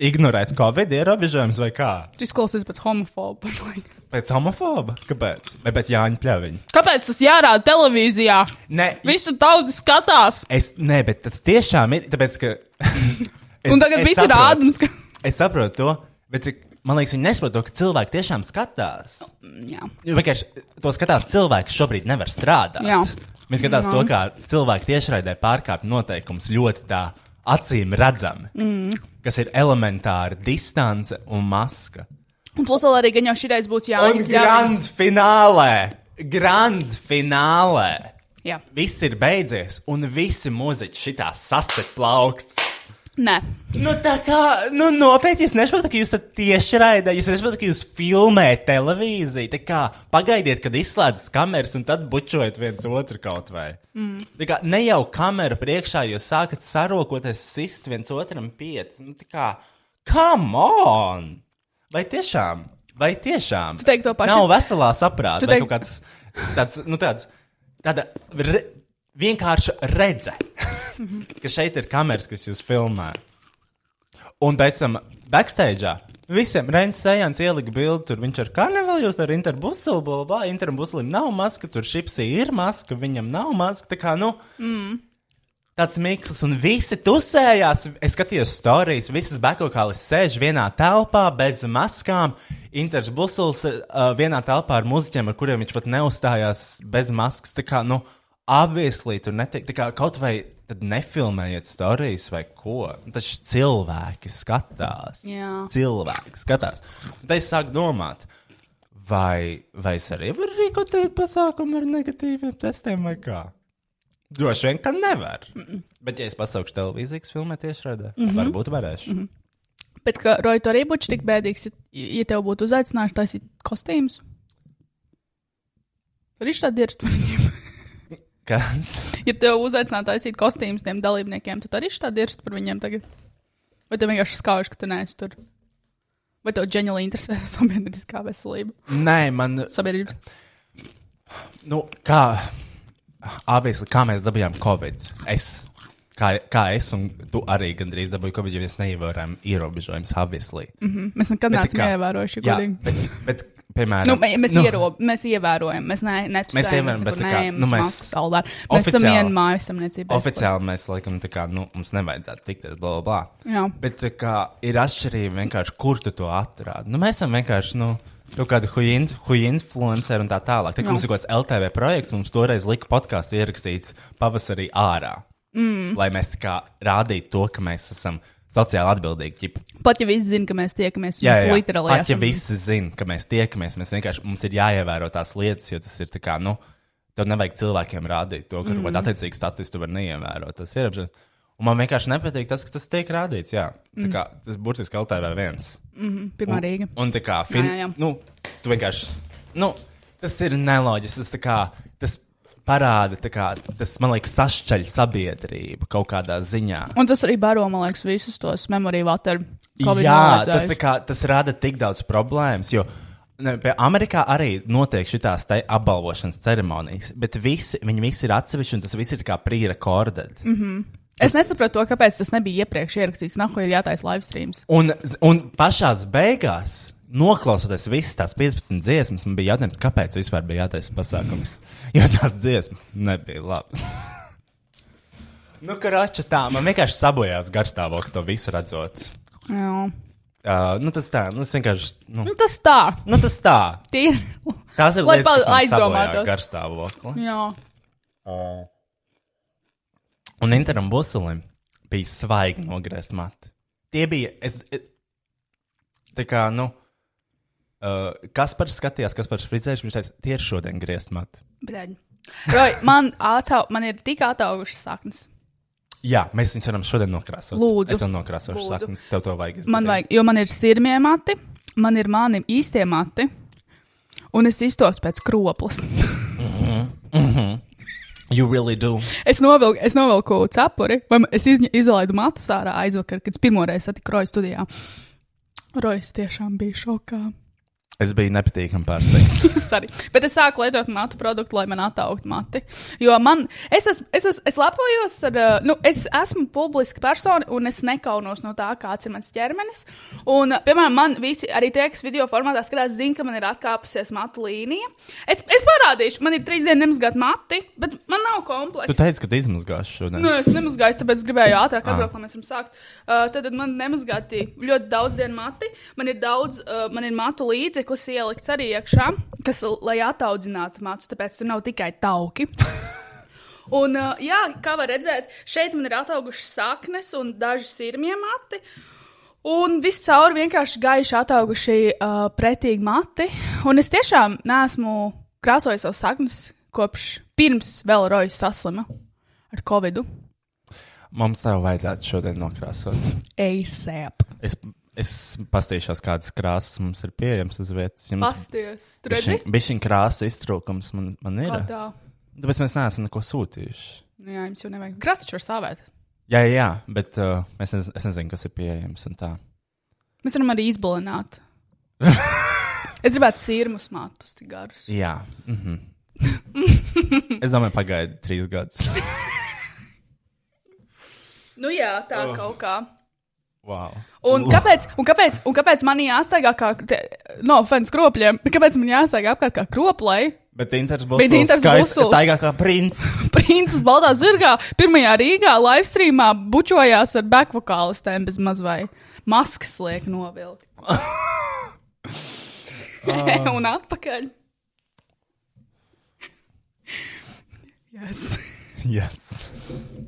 B: Ignorēt covid ierobežojumus vai kā?
C: Tu izklausies pēc homofoba. par laiku.
B: Pēc homofoba? Kāpēc? Vai pēc Jāņa pļaviņa?
C: Kāpēc tas jārāda televīzijā?
B: Nē,
C: Visu tautu skatās.
B: es, nē, bet tas tiešām ir, tāpēc ka. es,
C: Un tagad
B: es
C: viss ir
B: saprotu.
C: ādams. Ka...
B: Es saprotu to, bet cik- man liekas, viņi nesaprot to, ka cilvēki tiešām skatās.
C: Jā.
B: Jo vienkārši to skatās cilvēks šobrīd nevar strādāt.
C: Jā.
B: Viņi skatās to, kā cilvēki tiešraidē pārkāpj noteikumus ļoti tā acīm redzami, mm. kas ir elementāra distance un maska.
C: Un plus vēl arī gan jau šitais būs
B: Un
C: jāņem.
B: grand finālē! Grand finālē!
C: Jā.
B: Viss ir beidzies, un visi muzeķi šitā sasit plauksts.
C: Nē.
B: Nu, tā kā, nu, nopietni, jūs nesaprotat, ka jūs esat tieši raidījumā, jūs nesaprotat, ka jūs filmējat televīziju. Tā kā pagaidiet, kad izslēdzas kameras, un tad bučojiet viens otru kaut vai. Mm. Tā kā ne jau kameru priekšā jūs sākat sarokoties, sist viens otram pieci. Nu, tā kā, come on! Vai tiešām? Vai tiešām?
C: Tu teiksi to pašu?
B: Nav veselā saprāta,
C: Tu
B: vai
C: teik-
B: kaut kāds tāds, nu, tāds, tāda re, vienkārša redze, ka šeit ir kameras, kas jūs filmē. Un pēc tam backstage. Visiem Rēns Sējans ielika bildi, tur viņš ar karnevālu, jūs ar interbusulu, bla, bla, interbusulim nav maska, tur šipsī ir maska, viņam nav maska, tā kā, nu, mm. tāds miksls, un visi tusējās, es skatījos stāstījus, visas bekokālis sēž vienā telpā bez maskām, interbusuls uh, vienā telpā ar muzeķiem, ar kuriem viņš pat neuzstājās bez maskas, tā kā, nu, Obviously, tur netiek tā kā kaut vai tad nefilmējiet stāstījus vai ko. Taču cilvēki skatās.
C: Jā.
B: Cilvēki skatās. Un tad es sāku domāt, Vai, vai es arī varu rīkot pasākumu ar negatīviem testiem vai kā? Droši vien, ka nevar. Mm -mm. Bet, ja es pasaukšu televīzijas filmē tiešraidē,
C: Mhm.
B: mm -hmm. varbūt varēšu. Mm -hmm.
C: Bet, ka Roja, tu arī būtu tik bēdīgs, ja, ja tev būtu uzaicināts taisīt kostīmus. Arī šādi ir stūriņiem.
B: Kas?
C: Ja tev uzaicinātu taisīt kostīmus tiem dalībniekiem, tad arī šādi ir par viņiem tagad. Vai tev vienkārši skauž, ka tu neesi tur? Vai tev ģenerāli interesē sabiedriskā veselība?
B: Nē, man.
C: Sabiedrība.
B: Nu, kā. Abas, kā mēs dabījām Covid? Es kā, kā es un tu arī gandrīz dabūji covid, jo mēs neievērojam ierobežojumus, obviously.
C: Mm -hmm. Mēs nekad
B: Bet
C: neesam
B: kā-
C: ievērojuši,
B: Jā,
C: godīgi.
B: bet, bet, piemēram,
C: Nu, mē- mēs, nu, iero, mēs ievērojam, mēs neesam
B: Mēs ievērojam, bet tā kā, nu, mēs
C: saldā. Mēs esam
B: oficiāli-
C: vienmājas samniecībā.
B: oficiāli mēs laikam tā kā, nu, mums nevajadzētu tikties, bla, bla, bla.
C: Jā.
B: Bet tā kā, ir atšķirība vienkārši, kur tu to atrādi. Nu, mēs esam vienkārši, nu, kaut kādi huīnfluenceri un tā tālāk. Tā kā mums ir kaut kāds LTV projekts, mums toreiz lika podkāstu ierakstīt pavasarī ārā. Mm. Lai mēs tā kā rādītu to, ka mēs esam sociāli atbildīgi. Ķip,
C: Pat ja visi zina, ka mēs tiekamies, mēs literāli
B: Pat ja visi zina, ka mēs tiekamies, mēs vienkārši mums ir jāievēro tās lietas, jo tas ir tā kā, nu, tev nevajag cilvēkiem rādīt to, ka mm. attiecīgi statistiku var neievērot. Tas ir apzināti. Un man vienkārši nepatīk tas, ka tas tiek rādīts. Jā, mm. kā, tas burtiski LTV viens.
C: Pirmā Rīga.
B: Un tā kā, fin...
C: Jā, jā, jā.
B: nu, tu vienkārši, nu, tas ir neloģiski. Tas, tā kā, tas parāda, tā kā, tas man liekas, sašķeļ sabiedrību kaut kādā ziņā.
C: Un tas arī baro, man liekas, visus tos memory water. Covid
B: Jā, tas,
C: noliedzējus.
B: tā kā, tas rada tik daudz problēmas. Jo ne, pie Amerikā arī notiek šīs apbalvošanas ceremonijas, bet visi, viņi visi ir atsevišķi un tas viss ir pre-recorded. Mm -hmm.
C: Es nesaprotu, to, kāpēc tas nebija iepriekš ierakstīts. Nahu ir jātaisa live streams.
B: un, un pašā beigās. Noklausoties visas tās 15 dziesmas, man bija jautājums, kāpēc vispār bija jātaisa pasākums. Jo tās dziesmas nebija labas. nu, karača tā, man vienkārši sabojājās garstāvoklis to visu redzot.
C: Jā.
B: Uh, nu, tas tā, nu, tas vienkārši. Nu,
C: Nu, tas tā.
B: nu, tas tā.
C: Tie ir.
B: Tās ir
C: Lai
B: lietas, kas
C: pa-
B: man sabojā
C: aizdomātos.
B: garstāvokli. Uh.
C: Jā.
B: Un Interam Buselim bija svaigi nogriezt mati. Tie bija, es, e- tā kā, nu, uh, kas par skatījās, kas par spridzējuši, viņš teica, tie ir šodien griezt mati.
C: Bļaļ. Roj, man, atau, man ir tik ataugušas saknes.
B: Jā, mēs viņus varam šodien nokrāsot.
C: Lūdzu.
B: Es jau nokrāsošu
C: Lūdzu.
B: saknes, tev to vajag.
C: Man vajag, jo man ir sirmie mati, man ir mani īstie mati, un es iztos pēc kroplas.
B: You really do.
C: Es novilku, es novilku cepuri, vai man- es izņ, izlaidu matu sārā aizvakar, kad es pirmoreiz satiku Roju studijā. Rojas tiešām bija šokā.
B: Es biju nepatīkami pārsteigts.
C: Sorry. Bet es sāku lietot matu produktu, lai man attauktu mati. Jo man, es, es, es, es, es lepojos ar, uh, nu, es esmu publiska persona un es nekaunos no tā, kāds ir mans ķermenis. Un, uh, piemēram, man visi, arī tie, kas video formātā skatās, zina, ka man ir atkāpusies matu līnija. Es, es parādīšu, man ir trīs dienas nemazgāt mati, bet man nav komplekta.
B: tu teici, ka tu izmazgāsi šodien.
C: Nu, es nemazgāju, tāpēc gribēju ātrāk atbraukt, lai mēs varam sākt. Uh, tad tad man nemazgāti ļoti daudz dienu mati. Man ir daudz, uh, man ir matu līdzeklis ielikts arī iekšā, kas, l- lai ataudzinātu matus, tāpēc tur nav tikai tauki. Un, uh, jā, kā var redzēt, šeit man ir ataugušas saknes un daži sirmie mati. Un viss cauri vienkārši gaiši atauguši uh, pretīgi mati. Un es tiešām neesmu krāsojis savus saknes kopš pirms vēl rojas saslima ar covidu.
B: Mums tev vajadzētu šodien nokrāsot.
C: ASAP.
B: Es, es pastīšos, kādas krāsas mums ir pieejamas uz vietas. Jums
C: Pasties, tu redzi?
B: Bija šī krāsa iztrūkums, man, man ir.
C: Kā tā?
B: Tāpēc mēs neesam neko sūtījuši.
C: Nu Jā, jums jau nevajag. Krāsačs var stāvēt.
B: Jā, jā, jā bet uh, es, nez, es nezinu, kas ir pieejams. un tā.
C: Mēs varam arī izbalināt. es gribētu sirmus matus tik garus.
B: Jā, mm -hmm. es domāju, pagaidi trīs gadus.
C: Nu jā, tā oh. kaut kā.
B: wow.
C: Un kāpēc, un, kāpēc, un kāpēc man jāstaigā kā te, no fans kropļiem? Kāpēc man jāstaigā apkārt kā kroplai?
B: Bet Inters būs
C: Bet Inters
B: tāds
C: Busuls.
B: - kā princis.
C: Princis Baltā zirgā pirmajā Rīgā live streamā bučojās ar backvokālistēm bez maz vai maskas liek novilkt.
B: Ah.
C: un atpakaļ. Yes.
B: yes.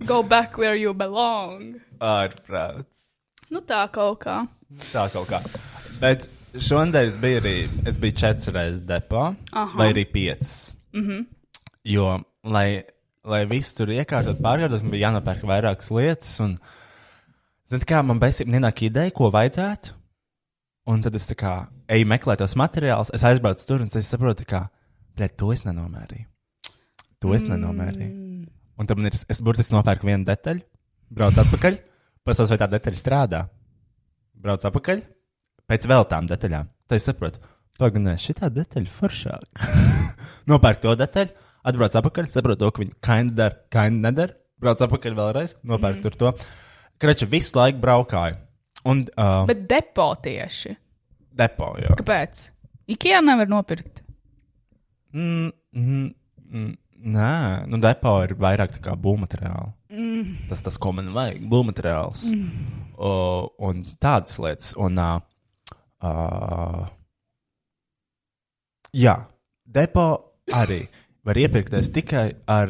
C: Go back where you belong.
B: Ārprāts.
C: Nu tā kaut kā.
B: Tā kaut kā. Bet Šonadēļ es biju arī, es biju četras reizes depo,
C: Aha.
B: vai arī piecas. Mm -hmm. Jo, lai, lai visu tur iekārtot, pārkārtot, man bija jānopērk vairākas lietas. Un, zini, kā man besīm nenāk ideja, ko vajadzētu. Un tad es tā kā eju meklēt tos materiālus, es aizbraucu tur un es saprotu, ka, pret to es nenomērīju. To es mm. nenomērīju. Un tad man ir, es burtiski nopērku vienu detaļu, braucu atpakaļ, pasaule, vai tā detaļa strādā. Braucu atpakaļ, pēc vēl tām detaļām. Tad es saprotu, to gan ne, šī detaļa foršāka. Nopērk to detaļu, atbrauc atpakaļ, saprotu, to, ka viņi kaini dara, kaini nedara. Brauc atpakaļ vēlreiz, nopērk mm. tur to. Krača visu laiku braukāju. Un uh,
C: Bet depo tieši.
B: depo, jā.
C: Kāpēc? Ikea nevar nopirkt.
B: Mm, mm, mm, nē, nu depo ir vairāk tā kā būvmateriāli. Mm. Tas tas, ko man vajag, būvmateriāls. Mm. Uh, un tādas lietas. Un, uh, uh, jā, depo arī var iepirkties tikai ar,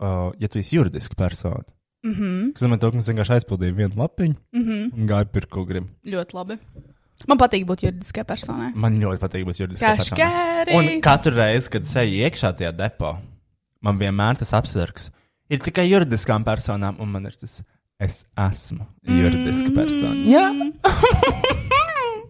B: uh, ja tu esi juridiska persona.
C: Mhm.
B: Mm -hmm. Zemē to, ka mēs vienkārši aizpildījām vienu lapiņu mm -hmm. un gāju pirkt, ko gribam.
C: Ļoti labi. Man patīk būt juridiskai personai.
B: Man ļoti patīk būt juridiskā
C: Kā
B: personā.
C: škēri.
B: Un katru reizi, kad eju iekšā tajā depo, man vienmēr tas apsargs ir tikai juridiskām personām, un man ir tas, es esmu juridiska persona. Jā,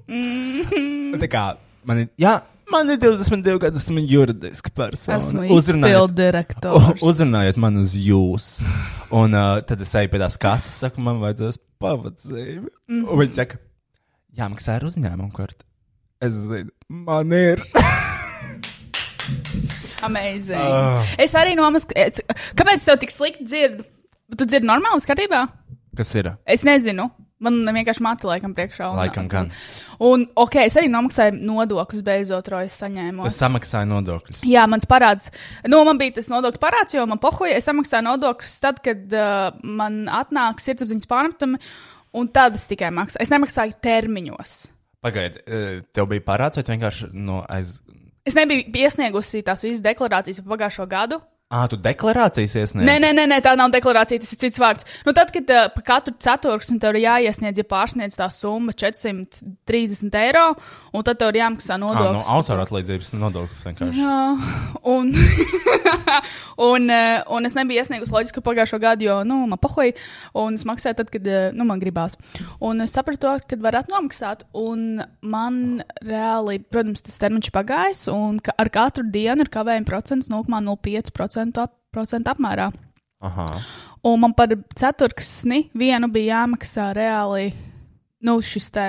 B: Un tā kā man ir, jā, man ir 22 gadi, esmu juridiska persona.
C: Esmu
B: Uzrunājiet-
C: izpildu direktors.
B: U- Uzrunājiet man uz jūs. Un uh, tad es eju pie tās kases, saku, man vajadzēs pavadzību. Mm -hmm. Un viņi saka, jāmaksā ar uzņēmumu kartu. Es zinu, man ir.
C: Amazing.
B: Ah.
C: Es arī nomas... es- Kāpēc tev tik slikti dzird? Tu dzirdi normāli, skatībā?
B: Kas ir?
C: Es nezinu. Man vienkārši mati laikam priekšā. Un,
B: Laikam gan.
C: Un, ok, es arī nomaksāju nodokļus beidzot, rojas saņēmu.
B: Tas samaksāja nodokļus.
C: Jā, mans parāds. Nu, man bija tas nodokļu parāds, jo man pohoja, es samaksāju nodokļus tad, kad uh, man atnāk sirdsapziņas pārmetumi, un tad es tikai maksāju. Es nemaksāju termiņos.
B: Pagaidi, eh, tev bija parāds, vai tu vienkārši no aiz.
C: Es nebiju iesniegusi tās visas deklarācijas par pagājušo gadu.
B: Ā, tu deklarācijas iesniedz?
C: Nē, nē, nē, nē, tā nav deklarācija, tas ir cits vārds. Nu, tad, kad uh, pa katru ceturksni tev ir jāiesniedz, ja pārsniedz tā summa 430 eiro, un tad tev ir jāmaksā
B: Ā, nu, no
C: nodokļus.
B: autora atlīdzības nodoklis vienkārši.
C: Jā, un, un, eh, un es nebiju iesniegusi loģisku pagājušo gadu, jo nu, man pahoja, un es maksāju tad, kad eh, nu, man gribās. Un es sapratu, ka varētu nomaksāt, un man reāli, protams, tas termiņš ir pagājis, un ka ar katru dienu ir kavējuma procents 0,05% ap, procentu apmērā.
B: Aha.
C: Un man par ceturksni vienu bija jāmaksā reāli nu, šis te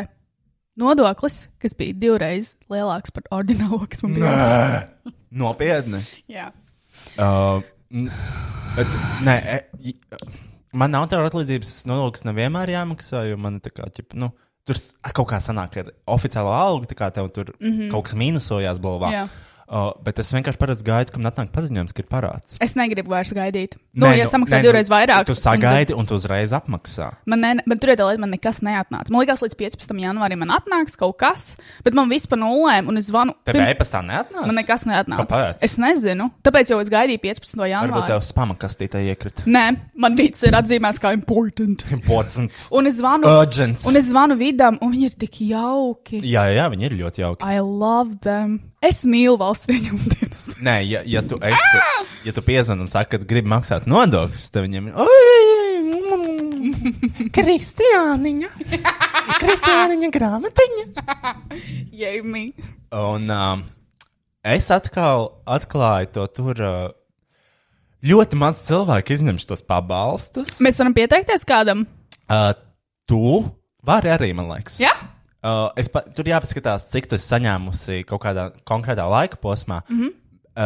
C: nodoklis, kas bija divreiz lielāks par ordinālo, kas man bija. jāmaksā.
B: Nopietni.
C: Jā.
B: Uh, n- bet, nē, e- i- man autora atlīdzības nodoklis nevienmēr jāmaksā, jo man ir tā kā, ķip, nu, tur s- kaut kā sanāk ar oficiālo algu, tā kā tev tur mm -hmm. kaut kas mīnusojās
C: Mhm. Jā.
B: balvā. Uh, bet es vienkārši paredzu gaidu, kam nāk paziņojums, ka ir parāds.
C: Es negribu vairs gaidīt. Nu, nē, ja
B: nē,
C: samaksā
B: nu,
C: divreiz vairāk, nu,
B: Tu sagaidi un tu uzreiz apmaksā.
C: Man, ne, man tur ir tā lieta, man nekas neatnāca. Man liekas, līdz 15. janvārim man atnāks kaut kas, bet man viss par nulēm, un es zvanu.
B: Tev
C: pirm-
B: e-pastā neatnāca?
C: Man nekas neatnāca.
B: Kāpēc?
C: Es nezinu. Tāpēc jau es gaidīju 15.
B: Varbūt
C: janvāri.
B: tev spamakastītē iekrita.
C: Nē, man viss ir atzīmēts kā important.
B: Importants.
C: Nu, Un es zvanu.
B: Urgents.
C: Un es zvanu vidam, un viņi ir tik jauki.
B: Jā, jā, viņi ir ļoti jauki.
C: I love them. Es mīlu valsts ieņēmumu dienestu.
B: Nē, ja, ja tu,
C: Ah!
B: esi, ja tu piezvani un saki, ka gribi maksāt nodokļus, tad viņiem ir. "Oi, oi, oi, mm, Kristiāniņa! Kristiāniņa grāmatiņa!
C: Jei, mī.
B: Un um, es atkal atklāju to tur. Uh, ļoti maz cilvēku izņemšu tos pabalstus.
C: Mēs varam pieteikties kādam?
B: Uh, tu vari arī, man liekas.
C: Jā?
B: Uh, es pa, tur jāpaskatās, cik tu esi saņēmusi kaut kādā konkrētā laika posmā. Mm
C: Mhm.
B: -hmm.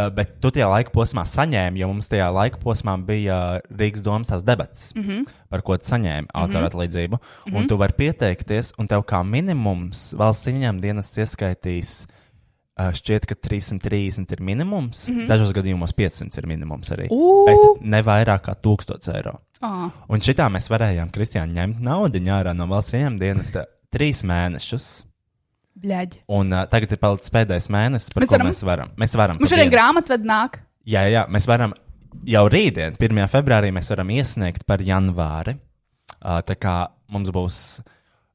B: uh, bet tu tajā laika posmā saņēmi, jo mums tajā laika posmā bija uh, Rīgas domas tās debatas, mm
C: Mhm.
B: -hmm. par ko tu saņēmi autora atlīdzību. Mm -hmm. Un tu vari pieteikties, un tev kā minimums valsts ieņēmuma dienas ieskaitīs. uh, Šķiet, ka 330 ir minimums, mm -hmm. dažos gadījumos 500 ir minimums arī.
C: Mhm. Ū!
B: Bet ne vairāk kā 1000 eiro.
C: Oh.
B: Un šitā mēs varējām, Kristiāna, ņemt naudu ārā no valsts ieņēmuma dienesta trīs mēnešus.
C: Bļaģi.
B: Un uh, tagad ir palicis pēdējais mēnesis, par
C: Mēs
B: mēs ko
C: varam?
B: varam? mēs varam. Mēs varam
C: Mums
B: pa
C: šodien
B: vienu.
C: grāmatved nāk.
B: Jā, jā, mēs varam jau rītdien, 1. februārī, mēs varam iesniegt par janvāri. Uh, tā kā mums būs.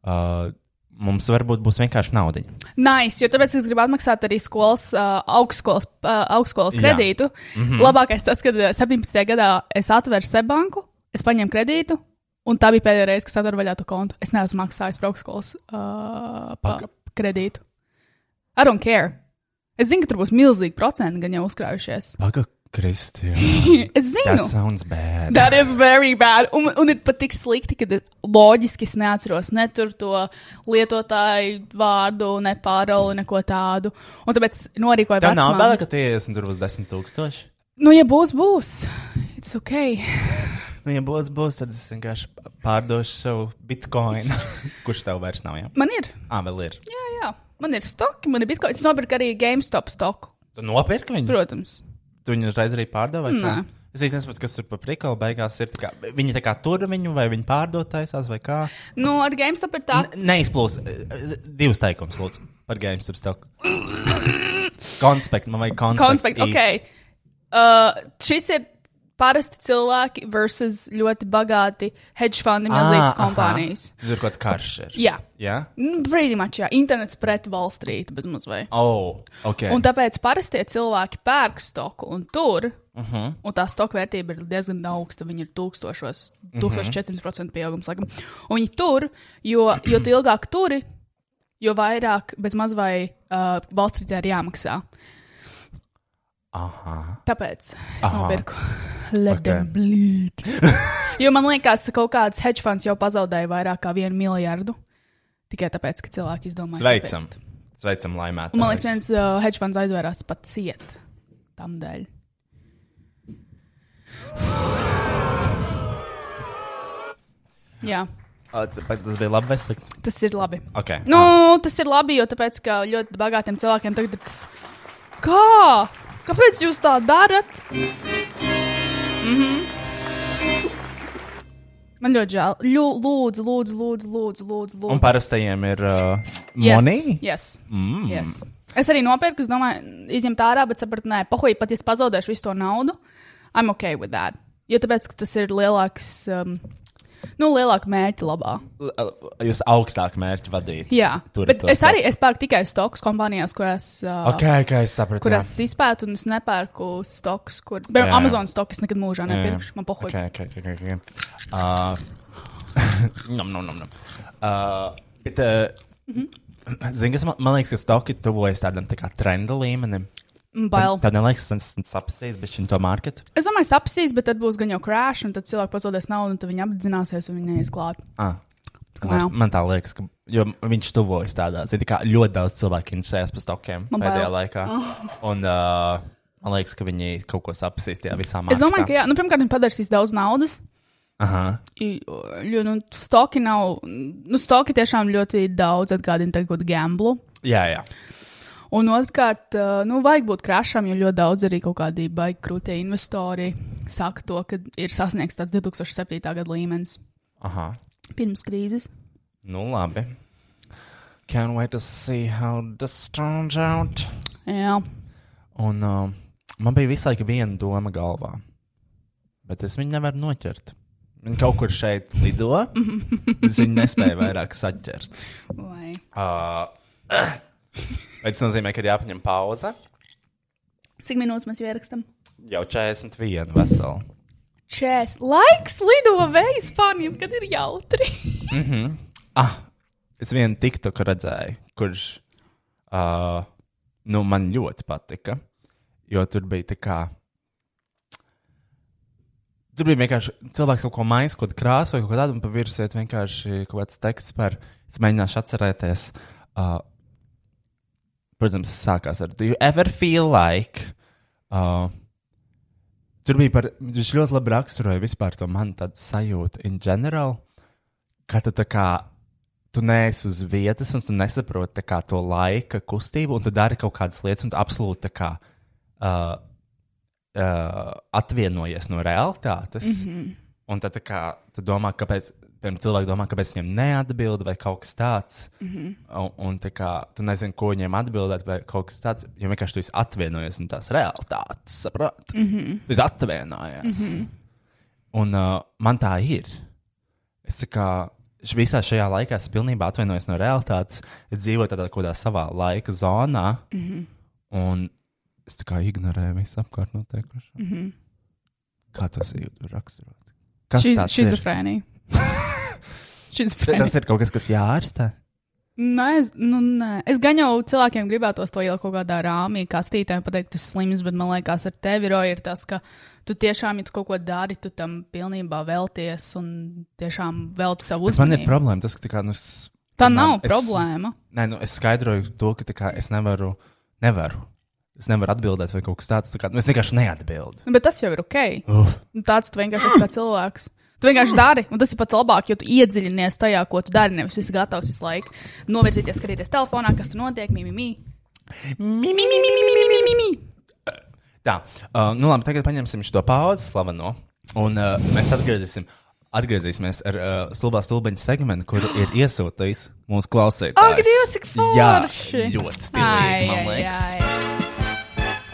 B: Uh, mums varbūt būs vienkārši naudiņa.
C: Nice, jo tāpēc es gribu atmaksāt arī skolas, uh, augstskolas, uh, augstskolas
B: Jā. Mhm.
C: kredītu. Mm -hmm. Labākais tas, kad uh, 17. gadā es atveru sebanku, es paņēmu kredītu. Un tā bija pēdējā reize, kad es atveru vaļā to kontu. Es neesmu maksājis par augstskolas uh, pa
B: Paka-
C: kredītu. I don't care. Es zinu, ka tur būs milzīgi procenti, gan jau uzkrājušies.
B: Paga, Kristija.
C: Es zinu,
B: That sounds bad.
C: That is very bad. Un, un ir pat tik slikti, ka loģiski es neatceros ne tur to lietotāju vārdu, ne pāroli, neko tādu. Un tāpēc norīkoju
B: Tā nav bēda,
C: vecmāmu.
B: ka tie ir tur būs desmit tūkstoši.
C: Nu, ja būs, būs. It's ok.
B: Nu, ja būs, būs, tad es vienkārši pārdošu savu bitkoinu. Kurš tev vairs nav? Jā,
C: Man ir.
B: à, Ah, vēl ir.
C: Jā, jā. Man ir stoki, man ir bitkoins. Es nopirku arī GameStop stoku,
B: Tu nopirki viņu?
C: protams.
B: Tu viņu uzreiz arī pārdevi?
C: Nē.
B: Es īstenībā nesaprotu, kas tur pa prikalu beigās ir. tā Kā, viņi tā kā tur viņu vai viņi pārdod taisās vai kā?
C: Nu, ar GameStop ir tā.
B: Ne- Neizplūst. Eh, Divas teikums, lūdzu, par GameStop stoku. Konspekt, man vajag konspektu.
C: Konspekt,
B: īs.
C: ok. Uh, šis ir parasti cilvēki versus ļoti bagāti hedge fundi,
B: Ā,
C: milzīgas
B: Ah, aha.
C: kompānijas.
B: Tur kaut kāds karš ir.
C: Jā.
B: Jā?
C: Nu, Pretty much, jā. Internets pret Wall Street bezmazliet.
B: Oh, ok.
C: Un tāpēc parastie cilvēki pērk stoku un tur, uh
B: Mhm.
C: -huh. un tā stoka vērtība ir diezgan augsta. Viņa ir 1000%,
B: Mhm.
C: 1400% pieaugums. Laikam. Un viņi tur, jo, jo tu ilgāk turi, jo vairāk bezmaz vai uh, valsts vidē ir jāmaksā.
B: Aha.
C: Tāpēc es
B: Aha.
C: nopirku. Let
B: Ok.
C: them bleed. jo man liekas, ka kaut kāds hedge funds jau pazaudēja vairāk kā vienu miljardu. Tikai tāpēc, ka cilvēki izdomāja.
B: Sveicam. Sveicam, laimēt.
C: Un, man liekas, viens uh, hedge funds aizvērās pat ciet tam dēļ. Jā,
B: Ah, Tas bija labi, vai slikti?
C: tas ir labi.
B: Ok.
C: Nu, tas ir labi, jo tāpēc, ka ļoti bagātiem cilvēkiem tagad ir tas, kā? Kāpēc jūs tā darat? Mm -hmm. Man ļoti žēl. Ļu, lūdzu, lūdzu, lūdzu, lūdzu, lūdzu. lūdzu.
B: Un parastajiem ir uh,
C: Yes,
B: monija.
C: Yes.
B: Mm.
C: Yes. Es arī nopirku, es domāju, izņemt ārā, bet sapratu, nē, pohoji, pat ja es pazaudēšu visu to naudu, I'm ok with that. Jo tāpēc, ka tas ir lielāks, um, nu, lielāka mērķa labā.
B: L- l- Jūs augstāk mērķi vadīt.
C: Jā,
B: Tur
C: bet
B: to
C: es
B: stāv.
C: arī es pērku tikai stokus kompānijās, kurās, uh,
B: Ok, ok, es sapratu.
C: kurās es izpētu, un es nepērku stokus, kur,
B: Jā,
C: piemēram,
B: jā.
C: Amazon stokus nekad
B: E,
C: mūžā nepirkšu. Man pohoji.
B: Okay, okay, okay, okay. Uh, nom, nom, nom, nom. Uh, bet, uh,
C: Mhm.
B: Zini, kas man, man liekas, ka stoki tuvojas tādam tā kā trenda līmenim.
C: Okay. Mm, Bail.
B: Tad neliekas, tas sapsīs, bet šim to marketu.
C: Es domāju, sapsīs, bet tad būs gan jau krāšņi, un tad cilvēki pazaudēs naudu, un tad viņi apzināsies, un viņi neies klāt.
B: Ah.
C: Wow.
B: Man, man tā liekas, ka jo viņš tuvojas tādā. Zini, tā kā ļoti daudz cilvēku interesējas par stokiem
C: Man
B: pēdējā
C: bail. Oh.
B: laikā. Un, uh, man liekas, ka viņi kaut ko sapsīs tajā visā marketā.
C: Es domāju, ka jā, nu, pirmkārt, viņi padarīs daudz naudas,
B: Aha.
C: I- Jo nu, stoki nav, nu, stoki tiešām ļoti daudz atgādina tagad gamblu.
B: Jā, jā.
C: Un otrkārt, eh, nu, vajag būt krāšam, jo ļoti daudz arī kaut kādi baigi krūtie investori saka to, ka ir sasniegts tāds 2007. gada līmenis
B: Aha.
C: pirms krīzes.
B: Nu, labi. Can't wait to see how this turns out.
C: Jā,
B: Un uh, man bija visu laiku viena doma galvā. Bet es viņu nevaru noķert. Viņa kaut kur šeit lido. bet es viņu nespēju vairāk saķert.
C: vai
B: Uh, tas nozīmē, ka ir jāpaņem pauze.
C: cik minūtes mēs ierakstām?
B: Jau 41 vesela.
C: Čēs, laiks lido vējs pārņiem, kad ir jautri.
B: Ah, es vienu tiktu redzēju, kurš uh, nu man ļoti patika. Jo tur bija tā kā. Tur bija vienkārši cilvēks kaut ko maisījis, kaut kāda krāsa vai kaut kā tāda, un pa virsmu iet vienkārši kaut kāds teksts par. Es mēģināšu atcerēties. Uh, protams, sākās ar Do you ever feel like? Uh, tur bija par. Viņš ļoti labi raksturoja vispār to manu tādu sajūtu in general, ka tu tā kā. Tu neesi uz vietas, un tu nesaproti tā kā, to laika kustību, un tu dari kaut kādas lietas, un tu absolūti tā kā uh, uh, atvienojies no realitātes. Mm -hmm. Un tad tā kā, tu domā, kāpēc piemēram, cilvēki domā, kāpēc viņiem neatbild vai kaut kas tāds. Mm -hmm. un, un tā kā, tu nezini, ko viņiem atbildēt, vai kaut kas tāds. Jo vienkārši tu esi atvienojies no tās realitātes, saproti? Mm -hmm. Tu esi
C: Mhm.
B: atvienojies. Mm -hmm. Un uh, man tā ir. Es tā kā, š- visā šajā laikā es pilnībā atvainojos no realitātes. Es dzīvoju tādā kaut kādā savā laika zonā, mm -hmm. un es tā kā ignorēju visu apkārt notiekušo. Mm
C: Mhm.
B: -hmm. Kā tas jūtas raksturot? Kas Ši, tas ir?
C: Šizofrēnija.
B: Tas
C: Šizofrēnija.
B: ir kaut kas, kas jārastē.
C: Nē, es, nu, nē. es gan jau cilvēkiem gribētos to ielikt kaut kādā rāmī, kā stītēm pateikt, tu esi slims, bet man liekas, ar tevi Roja, ir tas, ka tu tiešām, ja tu kaut ko dari, tu tam pilnībā velties un tiešām velti savu
B: Tas man ir
C: uzmanību.
B: problēma. Tas, ka, tā kā, nu, es,
C: Tā
B: piemēram,
C: nav es... problēma.
B: Nē, nu, es skaidroju to, ka tā kā, es nevaru, nevaru. Es nevaru atbildēt, vai kaut kas tāds. Tā kā, nu, es vienkārši neatbildu.
C: Nu, Bet tas jau ir ok.
B: Uf.
C: Nu, Tāds tu vienkārši esi kā cilvēks. Tu vienkārši dari, un tas ir pat labāk, jo tu iedziļinies tajā, ko tu dari. Nevis esi gatavs visu laiku novirzīties, skatīties telefonā, kas tur notiek, mimimi. Mimimi.
B: Tā, uh, nu labi, tagad paņemsim šo pauzi, slaveno. Un uh, mēs atgriezīsim, atgriezīsimies ar uh, stulbā stulbaņa segmentu, kuru ir iesūtījis mūsu klausītājs.
C: Ak, Dievs, cik
B: Jā,
C: forši!
B: ļoti stilīgi, man liekas.
C: Ai, ai,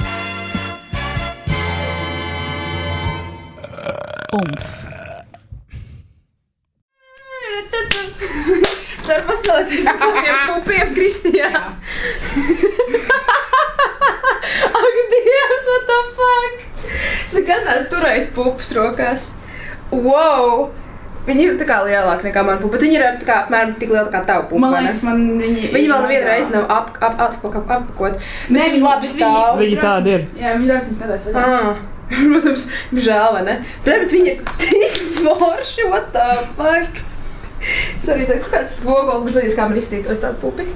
C: ai. Umf.
D: Svar paspēlēties ar pupiem, pupiem Kristijā. Ak, Dievs, what the fuck? Sagandās turējis pupas rokās. Wow! Viņi ir tā kā lielāki nekā man pupa, bet viņi ir tā kā apmēram tik liela kā tava pupa.
E: Man
D: vai ne?
E: liekas, man viņi.
D: Viņi vēl nevienu reizi nav ap, ap, ap, ap, ap, apkot. Bet viņi labi stāv.
E: Viņi tādi ir. Jā, viņi drusku skatās. vai ne?
D: Ah, Protams, žēl, vai ne? Bet, bet viņi ir tik forši, what the fuck? Es arī tādu kāds spogulis, bet pēc kā man izstītos tādu pupi.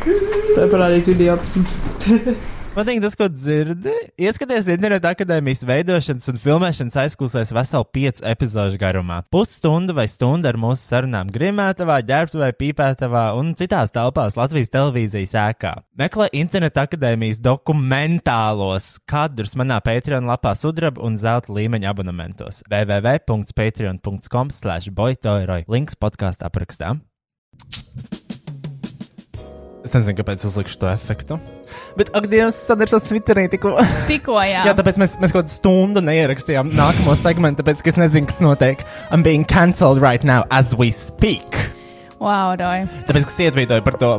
E: Es tev parādīju video apsim.
B: Patīk tas, ko dzirdi. Ieskaties interneta akadēmijas veidošanas un filmēšanas aizklausēs veselu piecu epizodu garumā. Pusstunda vai stunda ar mūsu sarunām grimētavā, ģērbtuvē, pīpētavā un citās telpās Latvijas televīzijas ēkā. Meklē interneta akadēmijas dokumentālos kadrus manā Patreon lapā sudraba un zelta līmeņa abonementos www.patreon.com slash boitoiroi. Links podkāstu aprakstā. Es nezinu, kāpēc uzlikšu to efektu. Bet, ak, Dievs, sadarbojas Twitterī tikko.
C: Tikko jā.
B: Jā, tāpēc mēs, mēs kaut kādu stundu neierakstījām nākamo segmentu, tāpēc ka es nezinu, kas notiek. I'm being cancelled right now as we speak.
C: Wow, Roja.
B: Tāpēc, ka es ietvīdoju par to.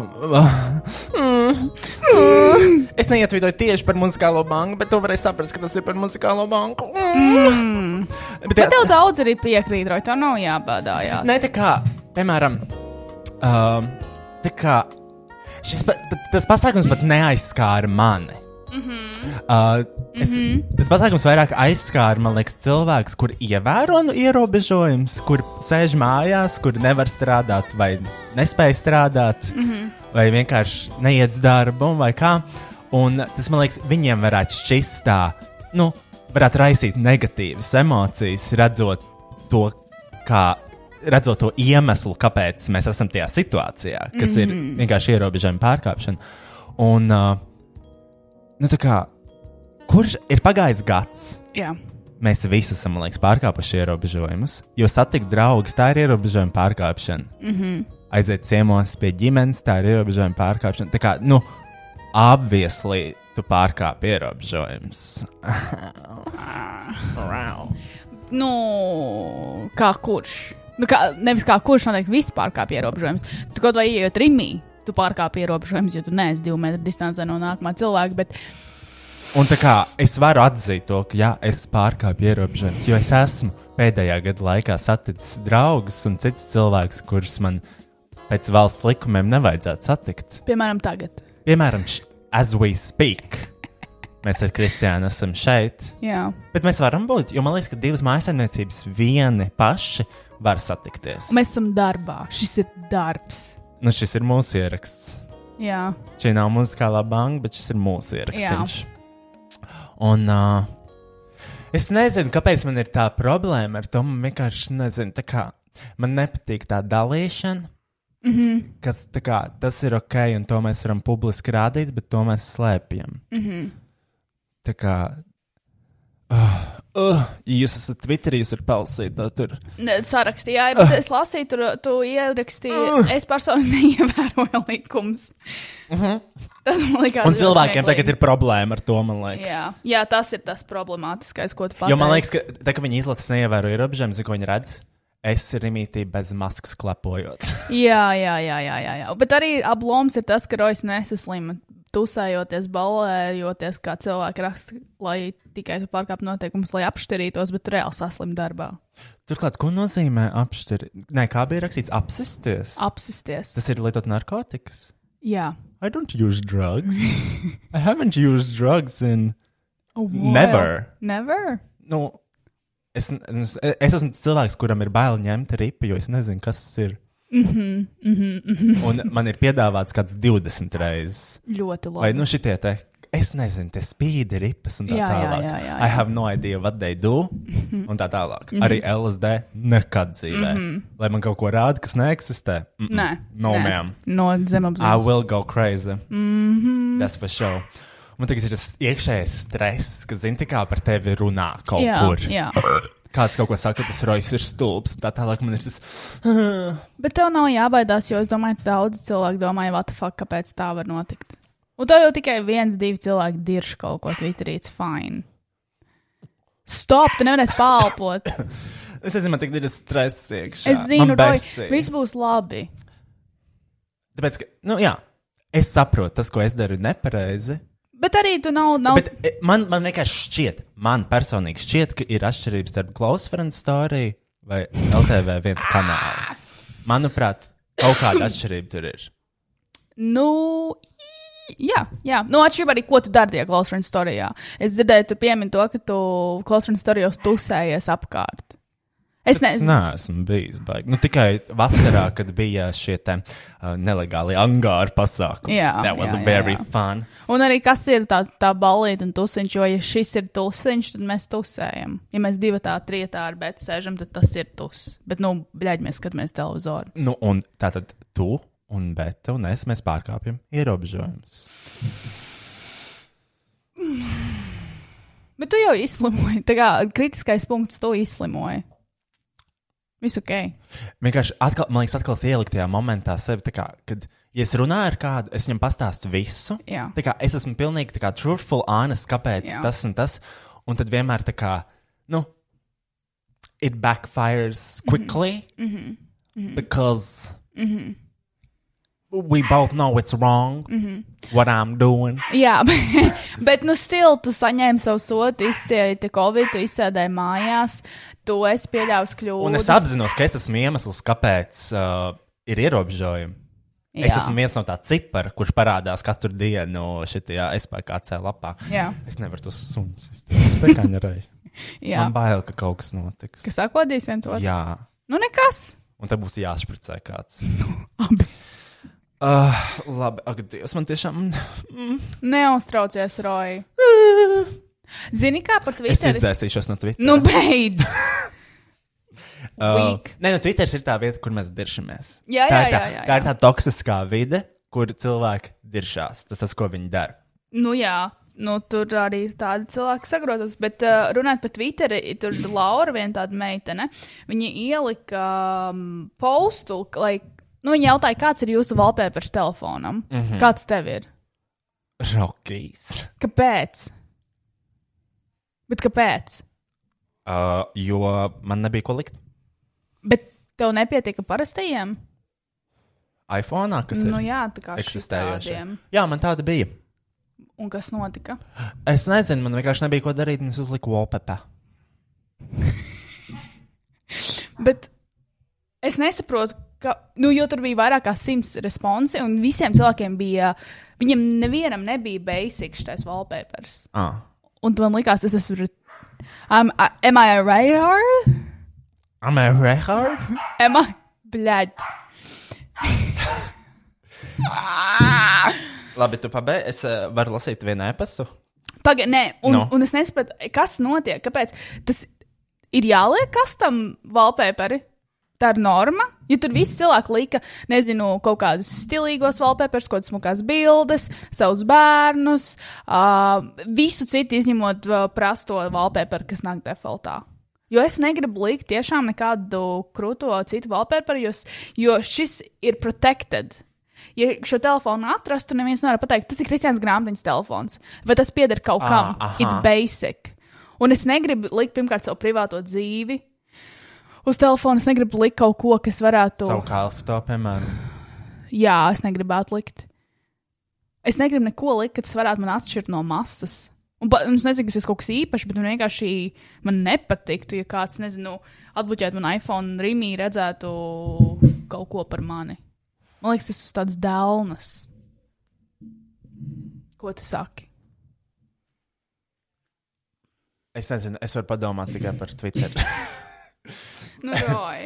C: Mm.
B: Es neietvīdoju tieši par muzikālo banku, bet tu varēji saprast, ka tas ir par muzikālo banku. Bet,
C: Mm. Bet tev daudz arī piekrīt, Roja. Tev nav jābādājās.
B: Nē, tā kā, piemēram, um, tā kā šis pa, pa- tas pasākums pat neaizskāra mani. Uh, es, mm -hmm. Tas pasākums vairāk aizskāra, man liekas, cilvēks, kur ievēro nu ierobežojumus, kur sēž mājās, kur nevar strādāt, vai nespēj strādāt, mm -hmm. vai vienkārši neiet uz darbu, vai kā. Un tas, man liekas, viņiem varētu šķist tā, nu, varētu raisīt negatīvas emocijas, redzot to, kā. Redzot to iemeslu, kāpēc mēs esam tajā situācijā, kas mm -hmm. ir vienkārši ierobežojuma pārkāpšana. Un, uh, nu, tā kā, kurš ir pagājis gads?
C: Jā.
B: Mēs visi esam, man liekas, pārkāpuši ierobežojumus. Jo satikt draugus, tā ir ierobežojuma pārkāpšana. Mm -hmm. Aiziet ciemos pie ģimenes, tā ir ierobežojuma pārkāpšana. Tā kā, nu, apvieslī tu pārkāp ierobežojumus.
C: nu, kā kurš. Nu, kā, nevis kā kurš, noteikti viss pārkāpj ierobežojumus. Tu kaut vai ienāc rīmī, tu pārkāpj ierobežojumus, jo tu neesi divu metru distancē no nākamā cilvēka. Bet,
B: Un tā kā es varu atzīt to, ka jā, es pārkāpu ierobežojumus, jo es esmu pēdējā gada laikā saticis draugus un citus cilvēkus, kurus man pēc valsts likumiem nevajadzētu satikt.
C: piemēram, tagad.
B: Piemēram, š- as we speak, mēs ar Kristiānu esam šeit.
C: Jā,
B: Bet mēs varam būt, jo man liekas, ka divas mājasarniecības vieni paši var satikties.
C: Un mēs esam darbā. Šis ir darbs.
B: Nu, šis ir mūsu ieraksts.
C: Jā,
B: Šī nav muzikālā banka, bet šis ir mūsu ieraksts.
C: Jā.
B: Un uh, es nezinu, kāpēc man ir tā problēma ar to. Man vienkārši nezinu, tā kā man nepatīk tā dalīšana.
C: Mhm.
B: Mm -hmm. Kas tā kā tas ir ok, un to mēs varam publiski rādīt, bet to mēs slēpjam. Mm -hmm.
C: Mhm.
B: Tā kā. Uh, uh, jūs esat Twitterī, jūs varat palasīt to tur.
C: Ne, sarakstījā, bet es lasīju, tur tu ierakstīju. Es personīgi neievēroju likumus. Tas man likās.
B: Un
C: ļoti
B: cilvēkiem
C: smieklīgi.
B: tagad ir problēma ar to, man liekas.
C: Jā. Jā, tas ir tas problemātiskais, ko tu pateici.
B: Jo man liekas, ka, tā, ka viņi izlasa neievēro ierobežojumus, zinu, ko viņi redz. Es rimītī bez maskas klepojot.
C: Jā, jā, jā, jā, jā, jā. Bet arī ablūms ir tas, ka Rojas nesaslima. Tusējoties, balējoties, kā cilvēki raksta, lai tikai tu pārkāptu noteikumus, lai apšterītos, bet reāli saslim darbā.
B: Turklāt, ko nozīmē apšķirt? Nē, kā bija rakstīts, apsisties.
C: Apsisties.
B: Tas ir lietot narkotikas.
C: Jā.
B: I don't use drugs. I haven't used drugs in. Oh,
C: A while.
B: Never.
C: Never?
B: Nu, es, es, es esmu cilvēks, kuram ir bail ņemt ripi, jo es nezinu, kas tas ir.
C: Mhm,
B: Mm -hmm, mm -hmm, mm -hmm. Un man ir piedāvāts kāds 20 reizes.
C: Ļoti
B: Vai
C: labi.
B: nu šitie te, es nezinu, tie spīdi ripas un tā
C: Jā, jā,
B: tālāk.
C: jā, jā,
B: I
C: jā. Mhm.
B: have no idea what they do un tā tālāk. Arī LSD nekad dzīvē. Lai man kaut ko rāda, kas neeksistē. Mm -mm.
C: Nē,
B: No,
C: nē.
B: ma'am.
C: No
B: I
C: zemapziņas. Mhm.
B: will go crazy. Tas for sure. Man tagad ir tas iekšējais stress, ka zini, tā kā par tevi runā kaut
C: Jā,
B: kur.
C: jā.
B: Kāds kaut ko saka, tas rojas ir stulbs, un tā tālāk man ir tas.
C: Bet tev nav jābaidās, jo es domāju, ka daudz cilvēku domā, what the fuck, kāpēc tā var notikt. Un tev jau tikai viens, divi cilvēki dirž kaut ko Twitterī, it's fine. Stop, tu nevarēsi pārpot.
B: Es nezinu, man tagad ir tas stress iekšā.
C: Es zinu,
B: Man
C: Roja,
B: besī.
C: viss būs labi.
B: Tāpēc, ka, nu jā, es saprotu, tas, ko es daru, ir nepareizi.
C: Bet arī tu nav, nav
B: Bet e, man, man vienkārši šķiet, man personīgi šķiet, ka ir atšķirības starp Close Friends Story vai LTV viens kanālu. Manuprāt, kaut kāda atšķirība tur ir.
C: Nu, i- jā, jā. Nu, atšķirībā arī, ko tu dari tajā close friend storijā. Es dzirdēju, tu piemini to, ka tu close friend storijos tusējies apkārt. Es
B: Es
C: nezinu.
B: neesmu bijis baigts. Nu, tikai vasarā, kad bija šie te, uh, nelegāli angāri pasākumi.
C: Jā,
B: that was
C: jā, jā,
B: very
C: jā.
B: fun.
C: Un arī kas ir tā, tā balīta un tusiņš, jo ja šis ir tusiņš, tad mēs tusējam. Ja mēs divi tā trietā ar bētu sēžam, tad tas ir tus. Bet, nu, bļaļ, mēs skatāmies televizoru.
B: Nu, un tā tad tu un Beta un es mēs pārkāpjam ierobežojumus.
C: Bet tu jau izslimoji. Tā kā kritiskais punkts, tu izslimoji. Viss ok.
B: Vienkārši, atkal, man liekas, atkal es ieliku tajā momentā sevi, tā kā, kad ja es runāju ar kādu, es viņam pastāstu visu.
C: Jā.
B: Tā kā es esmu pilnīgi tā kā truthful, honest, kāpēc
C: Jā.
B: Jā. tas un tas. Un tad vienmēr tā kā, nu, it backfires quickly. Mm
C: Mm-hmm.
B: -hmm. Mm -hmm. Because we both know it's wrong, mm
C: Mm-hmm.
B: -hmm. what I'm doing.
C: Jā, bet, bet nu, stila tu saņēmi savu sodu, izcēlīji covid, tu izsēdēji mājās, tu esi pieļāvis kļūdas.
B: Un es apzinos, ka es esmu iemesls, kāpēc uh, ir ierobežojumi. Jā. Es
C: Jā.
B: esmu viens no tā cipara, kurš parādās katru dienu šajā SPC lapā.
C: Jā.
B: Es nevaru tos sunus. Es tā kā nereiz.
C: Jā,
B: Man bail, ka kaut kas notiks.
C: kas sakodīs viens otru?
B: Jā.
C: Nu, nekas.
B: Un te būs jāšpricē kāds.
C: Abi.
B: Uh, labi, ak, Dievs, man tiešām.
C: Neuztraucies, Roja. Zini, kā par
B: Es
C: Twitteri?
B: izdzēsīšos no Twitter.
C: Nu, beidz!
B: Uh,
C: weak.
B: nē, nu, Twitter ir tā vieta, kur mēs diršamies.
C: Jā,
B: tā
C: jā,
B: ir tā,
C: jā, jā,
B: tā ir tā toksiskā vide, kur cilvēki diršās. Tas tas, ko viņi dara.
C: nu, jā. Nu, tur arī tādi cilvēki sagrozās. Bet uh, runājot par Twitter, tur Laura, viena tāda meitene, viņa ielika um, postu, ka, lai nu, viņa jautāja, kāds ir jūsu valpēpers telefonam? Mm
B: Mhm.
C: -hmm. Kāds tev ir?
B: Rokīs.
C: Kāpēc? Bet kāpēc?
B: Uh, jo man nebija ko likt.
C: Bet tev nepietika parastajiem?
B: iPhone, kas
C: Nu,
B: ir
C: jā, tā kā
B: eksistējošie.
C: šitādiem.
B: Jā, man tāda bija.
C: Un kas notika?
B: Es nezinu, man vienkārši nebija ko darīt, un es uzliku wallpaper.
C: Bet es nesaprotu, ka, nu, jo tur bija vairāk kā simts responsi, un visiem cilvēkiem bija, viņam nevienam nebija basic šis wallpapers.
B: Ah.
C: Un man likās, es esmu. Um, am I a radar?
B: Am I Rehard?
C: Am I? Bļaļ.
B: Labi, tu pabeidz. Es uh, varu lasīt vienu epastu.
C: Pagaid, nē, un, no.
B: Nu?
C: un es nesapratu, kas notiek. Kāpēc tas ir jāliek kastam valpēperi? Tā ir norma. Jo tur viss cilvēks lika, nezinu, kaut kādus stilīgos valpēperus, kaut kādas mukas bildes, savus bērnus, uh, visu citu izņemot uh, prasto valpēperu, kas nāk defaultā. Jo es negribu likt tiešām nekādu krūto citu valpēperu, jo, s- jo šis ir protected. Ja šo telefonu atrastu, neviens nevar pateikt, tas ir Kristians Grāmatiņas telefons, vai tas pieder kaut kam.
B: Ah, aha.
C: It's basic. Un es negribu likt pirmkārt savu privāto dzīvi. uz telefona es negribu likt kaut ko, kas varētu.
B: Savu kalfu to, piemēram.
C: Jā, es negribētu likt. Es negribu neko likt, kas varētu man atšķirt no masas. Un, pa- un es nezinu, kas tas kaut kas īpašs, bet man vienkārši man nepatiktu, ja kāds, nezinu, atbuķētu man iPhone un rīmī redzētu kaut ko par mani. Man liekas, tas ir tāds dēlnas. Ko tu saki?
B: Es nezinu, es varu padomāt tikai par Twitter.
C: Nu, roj.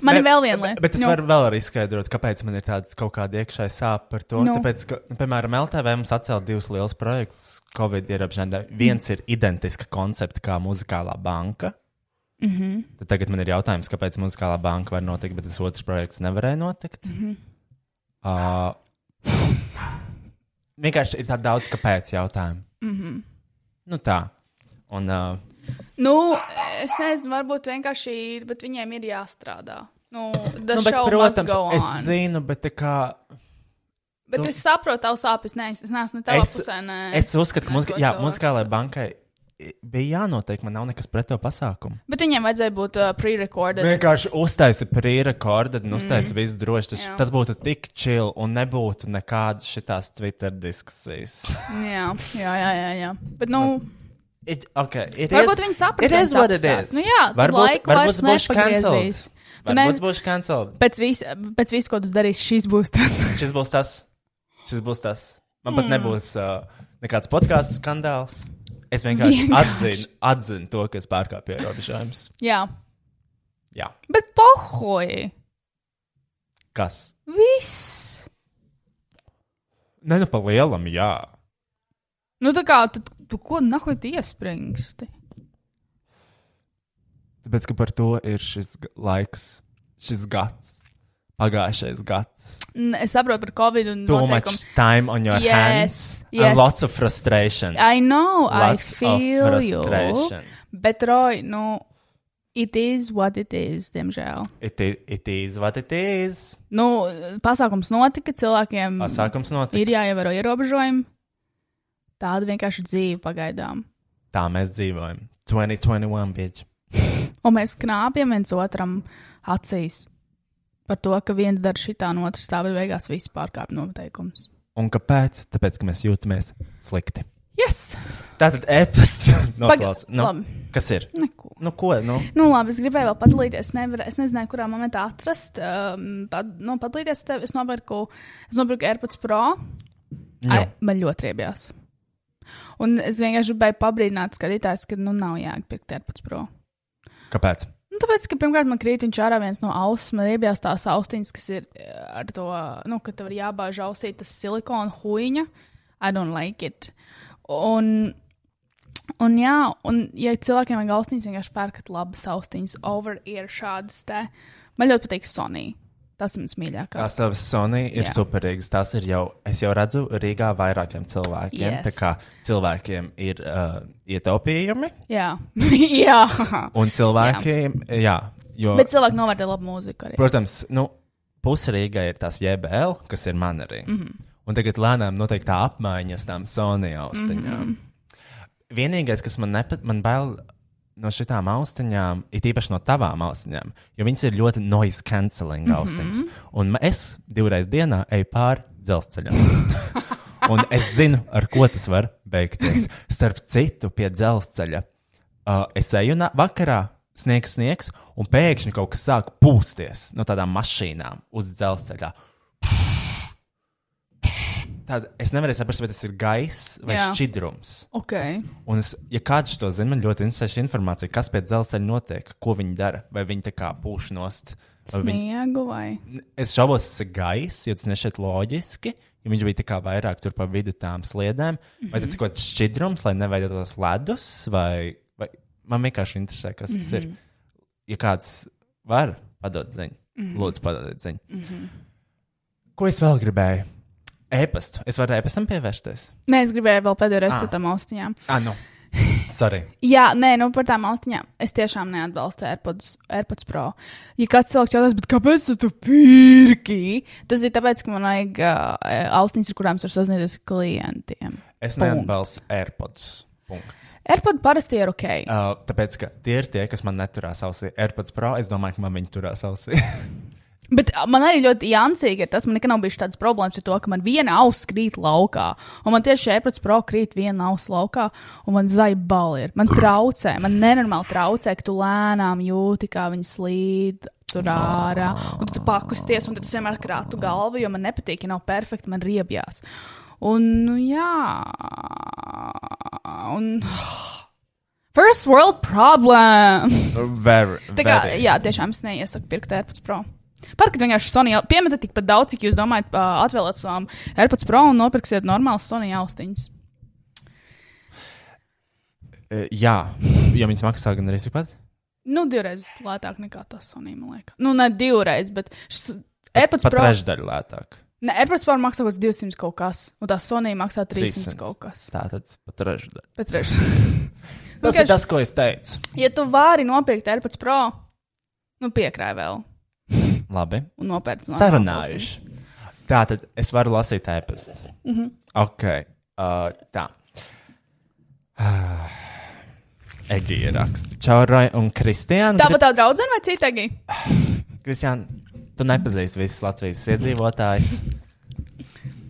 C: Man ir vēl viena lieta.
B: Ah, Bet es
C: Nu.
B: nu. varu vēl arī izskaidrot, kāpēc man ir tādas kaut kāda iekšēja sāpe par to. Nu.
C: Nu.
B: Tāpēc, ka, nu, piemēram, LTV mums atcēla divus lielus projektus Covid ierobežojumā. Viens ir identiska koncepta kā muzikālā banka. Mm
C: Mhm.
B: -hmm. Tad tagad man ir jautājums, kāpēc muzikālā banka var notikt, bet tas otrs projekts nevarēja notikt. Mm
C: Mhm. Ah.
B: -hmm. uh, vienkārši ir tā daudz kāpēc jautājumu. Mm -hmm.
C: Mhm.
B: Nu tā. Un, uh,
C: Nu, es nezinu, varbūt vienkārši ir, bet viņiem ir jāstrādā. Nu, tas
B: nu,
C: nu,
B: bet,
C: šaubas,
B: protams, es
C: protams, es,
B: zinu, bet tā kā.
C: bet es saprotu, tavu sāpes. Nē, es es neesmu ne tavā
B: Es-
C: pusē. Nē.
B: Es uzskatu, ka
C: Nē,
B: muzika,
C: to
B: jā,
C: cilvēku.
B: muzikālajai bankai i- bija jānotiek, man nav nekas pret to pasākumu.
C: Bet viņiem vajadzēja būt uh, pre-recorded.
B: Vienkārši uztaisīja pre-rekordu, un uztaisīja mm. visu droši. Tas,
C: Mhm. Jā.
B: tas būtu tik chill, un nebūtu nekādas šitās Twitter diskusijas.
C: Jā, jā, jā, jā, jā. Bet, nu,
B: It, okay, it
C: varbūt
B: is,
C: viņi
B: it
C: saprata,
B: is what it is.
C: Nu, jā, tu
B: varbūt,
C: laiku vairs
B: varbūt būs
C: nepagriezīs.
B: cancelled.
C: Tu
B: Varbūt
C: ne-
B: būs cancelled.
C: Pēc visa, pēc visa, ko tu darīsi, šis būs tas.
B: Šis būs tas. Šis būs tas. Man pat
C: Mm.
B: nebūs uh, nekāds podkāstu skandāls. Es vienkārši,
C: Vienkārši.
B: vienkārši. Atzinu, atzinu to, kas pārkāpj ierobežojumus.
C: jā,
B: Jā,
C: bet pohoji.
B: kas?
C: Viss.
B: Nē, nu, pa lielam, jā.
C: Nu, tā kā tu, tu ko nahuj iespringsti?
B: Tāpēc, ka par to ir šis g- laiks, šis gads, pagājušais gads.
C: N- Es saprotu par covid un
B: Too
C: noteikumu.
B: much time on your
C: Yes,
B: hands.
C: yes.
B: And lots of frustration.
C: I know,
B: Lots
C: I
B: of
C: feel you.
B: frustration.
C: Bet, Roy, nu, it is what it is, diemžēl.
B: It, i- it is what it is.
C: Nu, pasākums notika, cilvēkiem
B: Pasākums notika.
C: ir jāievēro ierobežojumi. Tāda vienkārši ir dzīve pagaidām.
B: Tā mēs dzīvojam. 2021, bitch.
C: Un mēs knāpjam viens otram acīs par to, ka viens dara šitā, un otrs tā, bet beigās viss pārkāpj noteikumus.
B: Un kāpēc? Tāpēc, ka mēs jūtamies slikti.
C: Yes!
B: Tātad, epas, noklās.
C: labi.
B: Nu, kas ir?
C: Neko.
B: Nu, ko? Nu?
C: Nu, labi, es gribēju vēl padalīties. Nevar, es nezināju, kurā momentā atrast. Um, pad, nu, padalīties ar tevi. Es nopirku, es nopirku AirPods Pro. Ai,
B: Nu,
C: man ļoti riebjās. Un es vienkārši gribēju pabrīdināt skatītājus, ka nu nav jāpirkt AirPods Pro.
B: kāpēc?
C: Nu, tāpēc, ka pirmkārt man krīt viņš ārā viens no ausīm, man riebjās tās austiņas, kas ir eh, ar to, nu, ka tev ir jābāž ausī tas silikona huīņa. I don't like it. Un, un jā, un ja cilvēkiem vajag austiņas, vienkārši pērkat labas austiņas, over-ear šādas te. Man ļoti patīk Sony. Tas ir mans mīļākais.
B: Tās tavas Sony ir
C: Jā.
B: yeah. superīgas. Tās ir jau, es jau redzu, Rīgā vairākiem cilvēkiem.
C: Yes.
B: Yes. Tā kā cilvēkiem ir uh, ietaupījumi,
C: Jā, jā.
B: un cilvēkiem, jā, jā jo,
C: Bet cilvēki novērtē labu mūziku arī.
B: protams, nu, puse Rīgā ir tās JBL, kas ir man arī. Mm -hmm. Un tagad lēnām notiek tā apmaiņa ar tām Sony austiņām. Mm -hmm. Vienīgais, kas man nepatīk, man bail. No šitām austiņām, it īpaši no tavām austiņām, jo viņas ir ļoti noise cancelling austiņas. Mm -hmm. Un ma- es divreiz dienā eju pāri dzelzceļam. Un es zinu, ar ko tas var beigties. Starp citu, pie dzelzceļa. Uh, es eju na- vakarā, sniegs, sniegs, un pēkšņi kaut kas sāk pūsties no tādām mašīnām uz dzelzceļa. Tad es nevaru saprast, vai tas ir gaiss vai
C: Jā.
B: Jā. šķidrums.
C: Okay.
B: Un, es, ja kāds to zina, man ļoti interesē šī informācija, kas pie dzelzceļa notiek, ko viņi dara, vai viņi tā kā pūš nost. vai viņi-
C: Sniegu vai?
B: Es šaubos, tas ir gaiss, jo tas nešķiet loģiski. Ja viņš bija tā kā vairāk tur pa vidu tām sliedēm, mm -hmm. vai tas ir kaut kāds šķidrums, lai neveidotos ledus, vai, vai man vienkārši interesē, kas mm -hmm. ir. Ja kāds var padot ziņu, mm -hmm. lūdzu, padodiet ziņu. Mm
C: Mhm.
B: -hmm. Ko es vēl gribēju? Ēpastu. Es varu ēpastam pievērsties.
C: Nē, es gribēju vēl pēdējo reizi
B: Ah.
C: par tām austiņām.
B: Ah, nu. Sorry.
C: Jā, nē, nu par tām austiņām. Es tiešām neatbalstu AirPods, AirPods Pro. Ja kāds cilvēks jautās, bet kāpēc tu to pirki? Tas ir tāpēc, ka man vajag uh, austiņas, ar kurām es varu sazināties ar klientiem.
B: Es
C: Punkts.
B: neatbalstu AirPods. Punkts.
C: AirPods parasti ir ok.
B: Uh, tāpēc, ka tie ir tie, kas man neturās ausī. AirPods Pro, es domāju, ka man viņi turās ausī.
C: Bet ā, man arī ļoti jāncīgi ir tas, man nekad nav bijis tādas problēmas ar to, ka man viena auss krīt laukā. Un man tieši AirPods Pro krīt viena auss laukā, un man zai bali ir. Man traucē, man nenormāli traucē, ka tu lēnām jūti, kā viņi slīd. Tur ārā, un tu pakusties, un tad es vienmēr krātu galvu, jo man nepatīk, ja nav perfekti, man riebjās. Un, nu, jā, un. First world problem!
B: Nu, Very,
C: Tā kā, jā, tiešām es neiesaku pirkt AirPods Pro. Parkat vienkārši Sony jau piemetat tikpat daudz, cik jūs domājat, ā, atvēlēt savām AirPods Pro un nopirksiet normālas Sony austiņas.
B: Uh, jā, jo viņas maksā gan arī tikpat.
C: Nu, divreiz lētāk nekā tas Sony, man liekas. Nu, ne divreiz, bet šis AirPods
B: Pat
C: Pro.
B: trešdaļu lētāk.
C: Ne, AirPods Pro maksā kaut kāds 200 kaut kas, un tā Sony maksā 300, 300.
B: 300.
C: kaut kas.
B: Tā tad pat trešdaļu.
C: Pēc trešā.
B: Tas
C: Vienkārši-
B: ir tas, ko es teicu.
C: Ja tu vari nopirkt AirPods Pro, nu piekrāj vēl
B: Labi.
C: un nopērci normālas austiņas.
B: Sarunājuši. Tā tad es varu lasīt ēpastu. Mm
C: Mhm.
B: -hmm. Ok. Uh, tā. Ah. Egija raksta. Čaurai un Kristiāna.
C: Tā pat tā draudzene vai citagi?
B: Kristiāna, tu nepazīsti visus Latvijas iedzīvotājus.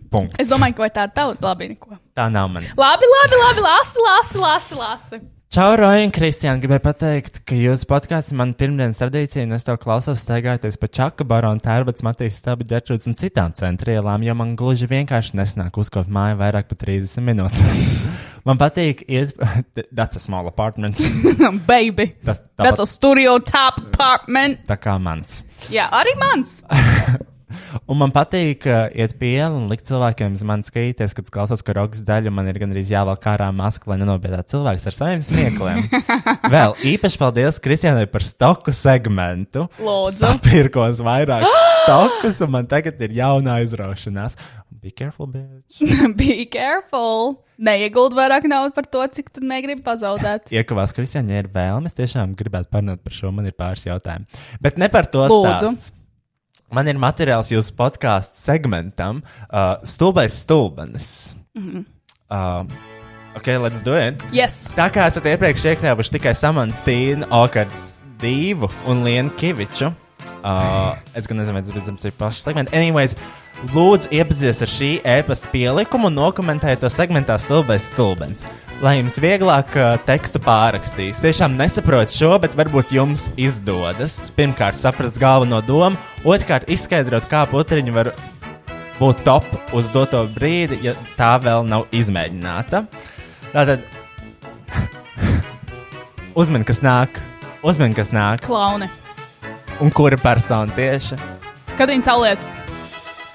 B: Punkts.
C: Es domāju, ka vai tā ir tava labi neko.
B: Tā nav man.
C: Labi, labi, labi, lasi, lasi, lasi, lasi.
B: Čau, Roja un Kristiāna. Gribēju pateikt, ka jūsu podkāsts man pirmdienas tradīcija, un es to klausos staigājoties pa Čaka baru un Tērbats, Matīs Stabu, Džetrūds un citām centrielām, jo man gluži vienkārši nesnāk uzkopot māju vairāk par 30 minūtēm. man patīk iet. That's a small apartment.
C: Baby.
B: Tas
C: That's a
B: tāpat
C: studio top apartment.
B: tā kā mans.
C: Jā, arī mans.
B: Un man patīk uh, iet pie ielas un likt cilvēkiem uz manis skatīties, kad es klausos, ka rokas daļu man ir gandrīz jāvelk ārā maska, lai nenobiedētu cilvēkus ar saviem smiekliem. Vēl īpaši paldies Kristianai par stoku segmentu.
C: Lūdzu.
B: Sapirkos vairāk stokus, un man tagad ir jauna aizraušanās. Be careful, bitch!
C: Be careful. Neieguld vairāk naudas par to, cik tu negribi pazaudēt.
B: Iekavās Kristiāna, ja ir vēlme, es tiešām gribētu parunāt par šo. Man ir pāris jautājumi. Bet ne par to
C: Lūdzu.
B: stāstu. Man ir materiāls jūsu podkāstu segmentam, uh, Stulbais stulbenis. Mm -hmm. uh, ok, let's do it.
C: Yes.
B: Tā kā esat iepriekš iekļāvuši tikai Samantīnu, Okards, Dīvu un Lienu Kiviču. Uh, es gan nezinu, vai tas bija tas pašs segments. Anyways, lūdzu, iepazīties ar šī e-pasta pielikumu un nokomentējiet to segmentā stulbais stulbens. Lai jums vieglāk uh, tekstu pārrakstīs. Tiešām nesaprotu šo, bet varbūt jums izdodas. Pirmkārt, saprast galveno domu, otrkārt, izskaidrot, kā putekļi var būt top uz doto brīdi, ja tā vēl nav izmēģināta. Tātad uzmini, kas nāk, uzmini, kas nāk,
C: Klauni.
B: un kura persona tieši.
C: Kad viņi saliet?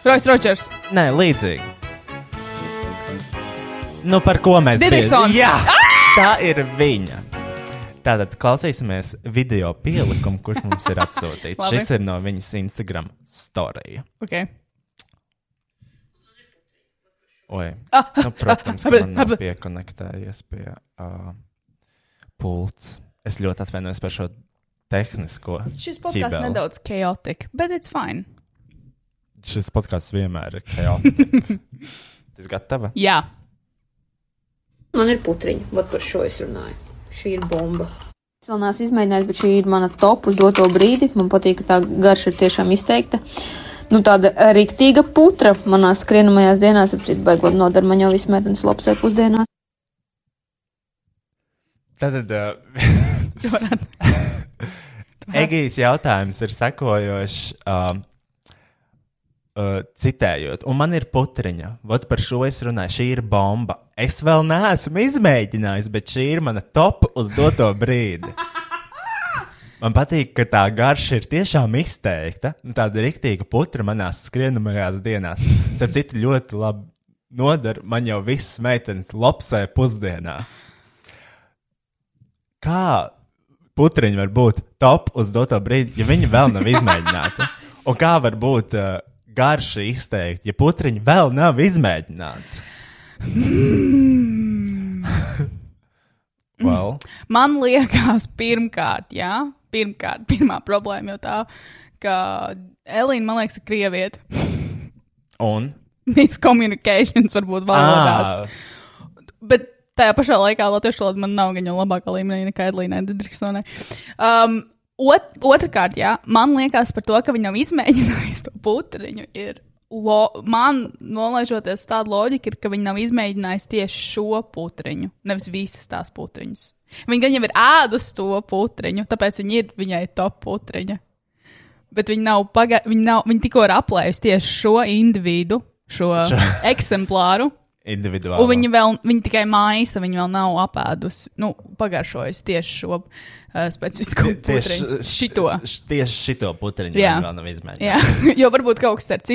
C: Rojas Rodžers.
B: Nē, līdzīgi. Nu, par ko mēs bieži-
C: Didriksons. Ah!
B: Jā, tā ir viņa. Tātad klausīsimies video pielikumu, kurš mums ir atsūtīts.
C: Labi.
B: Šis ir no viņas Instagram storija.
C: Ok.
B: Oi,
C: Ah,
B: nu, protams, ka
C: ah,
B: man nav
C: ah,
B: piekonektējies pie uh, pults. Es ļoti atvainojos par šo tehnisko.
C: Šis podkāsts
B: Ķibeli.
C: nedaudz chaotic, bet it's fine.
B: Šis podkāsts vienmēr ir chaotisks. Tas gatava.
C: Jā.
F: Man ir putriņa, vat par šo es runāju. Šī ir bomba. Es vēl neesmu izmēģinājis, bet šī ir mana top uz doto brīdi. Man patīk, ka tā garša ir tiešām izteikta. Nu, tāda riktīga putra manā skrienamajās dienās, ap citu baigot nodara man jau visu mētnes lapsē pusdienās.
B: Tad uh, Egijas jautājums ir sekojošs. Uh, uh, citējot, un man ir putriņa. Vat par šo es runāju. Šī ir bomba. Es vēl neesmu izmēģinājis, bet šī ir mana top uz doto brīdi. Man patīk, ka tā garša ir tiešām izteikta. Nu, Tāda rīktīga putra manās skrienamajās dienās. Starp citu, ļoti labi nodara man jau viss meitenes lapsē pusdienās. Kā putriņi var būt top uz doto brīdi, ja viņi vēl nav izmēģināti? Un kā var būt uh, garša izteikta, ja putriņi vēl nav izmēģināti?
C: Mm.
B: well,
C: Man liekas, pirmkārt, jā, pirmkārt, pirmā problēma jau tā, ka Elīna, man liekas, ir krieviete.
B: un Ah,
C: Miscommunications varbūt valodās.
B: Ā,
C: Bet tajā pašā laikā latviešu valoda man nav gan jau labākā līmenī nekā Edlīna Digrisonē. Um, ot, otrkārt, jā, man liekas par to, ka viņa nav izmēģinājusi to putekļiņu. ir Lo, man, nolaižoties uz tādu loģiku, ir, ka viņi nav izmēģinājuši tieši šo putekļiņu, nevis visas tās putekļiņas. Viņa gan jau ir ēdusi to putekļiņu, tāpēc viņa ir viņai top putekļiņa. Bet viņi nav, paga... viņi nav... Viņi tikko ir aplējusi tieši šo individu, šo eksemplāru. Un
B: Individuāli.
C: viņa vēl, viņa tikai maisa, viņa vēl nav apēdusi, nu, pagaršojusi tieši šo uh, specifisko putekli. Šito.
B: š- Tieši šito putekliņu
C: Jā.
B: vēl nav
C: Jā,
B: izmēģināts.
C: jo varbūt kaut kas tāds
F: Nu,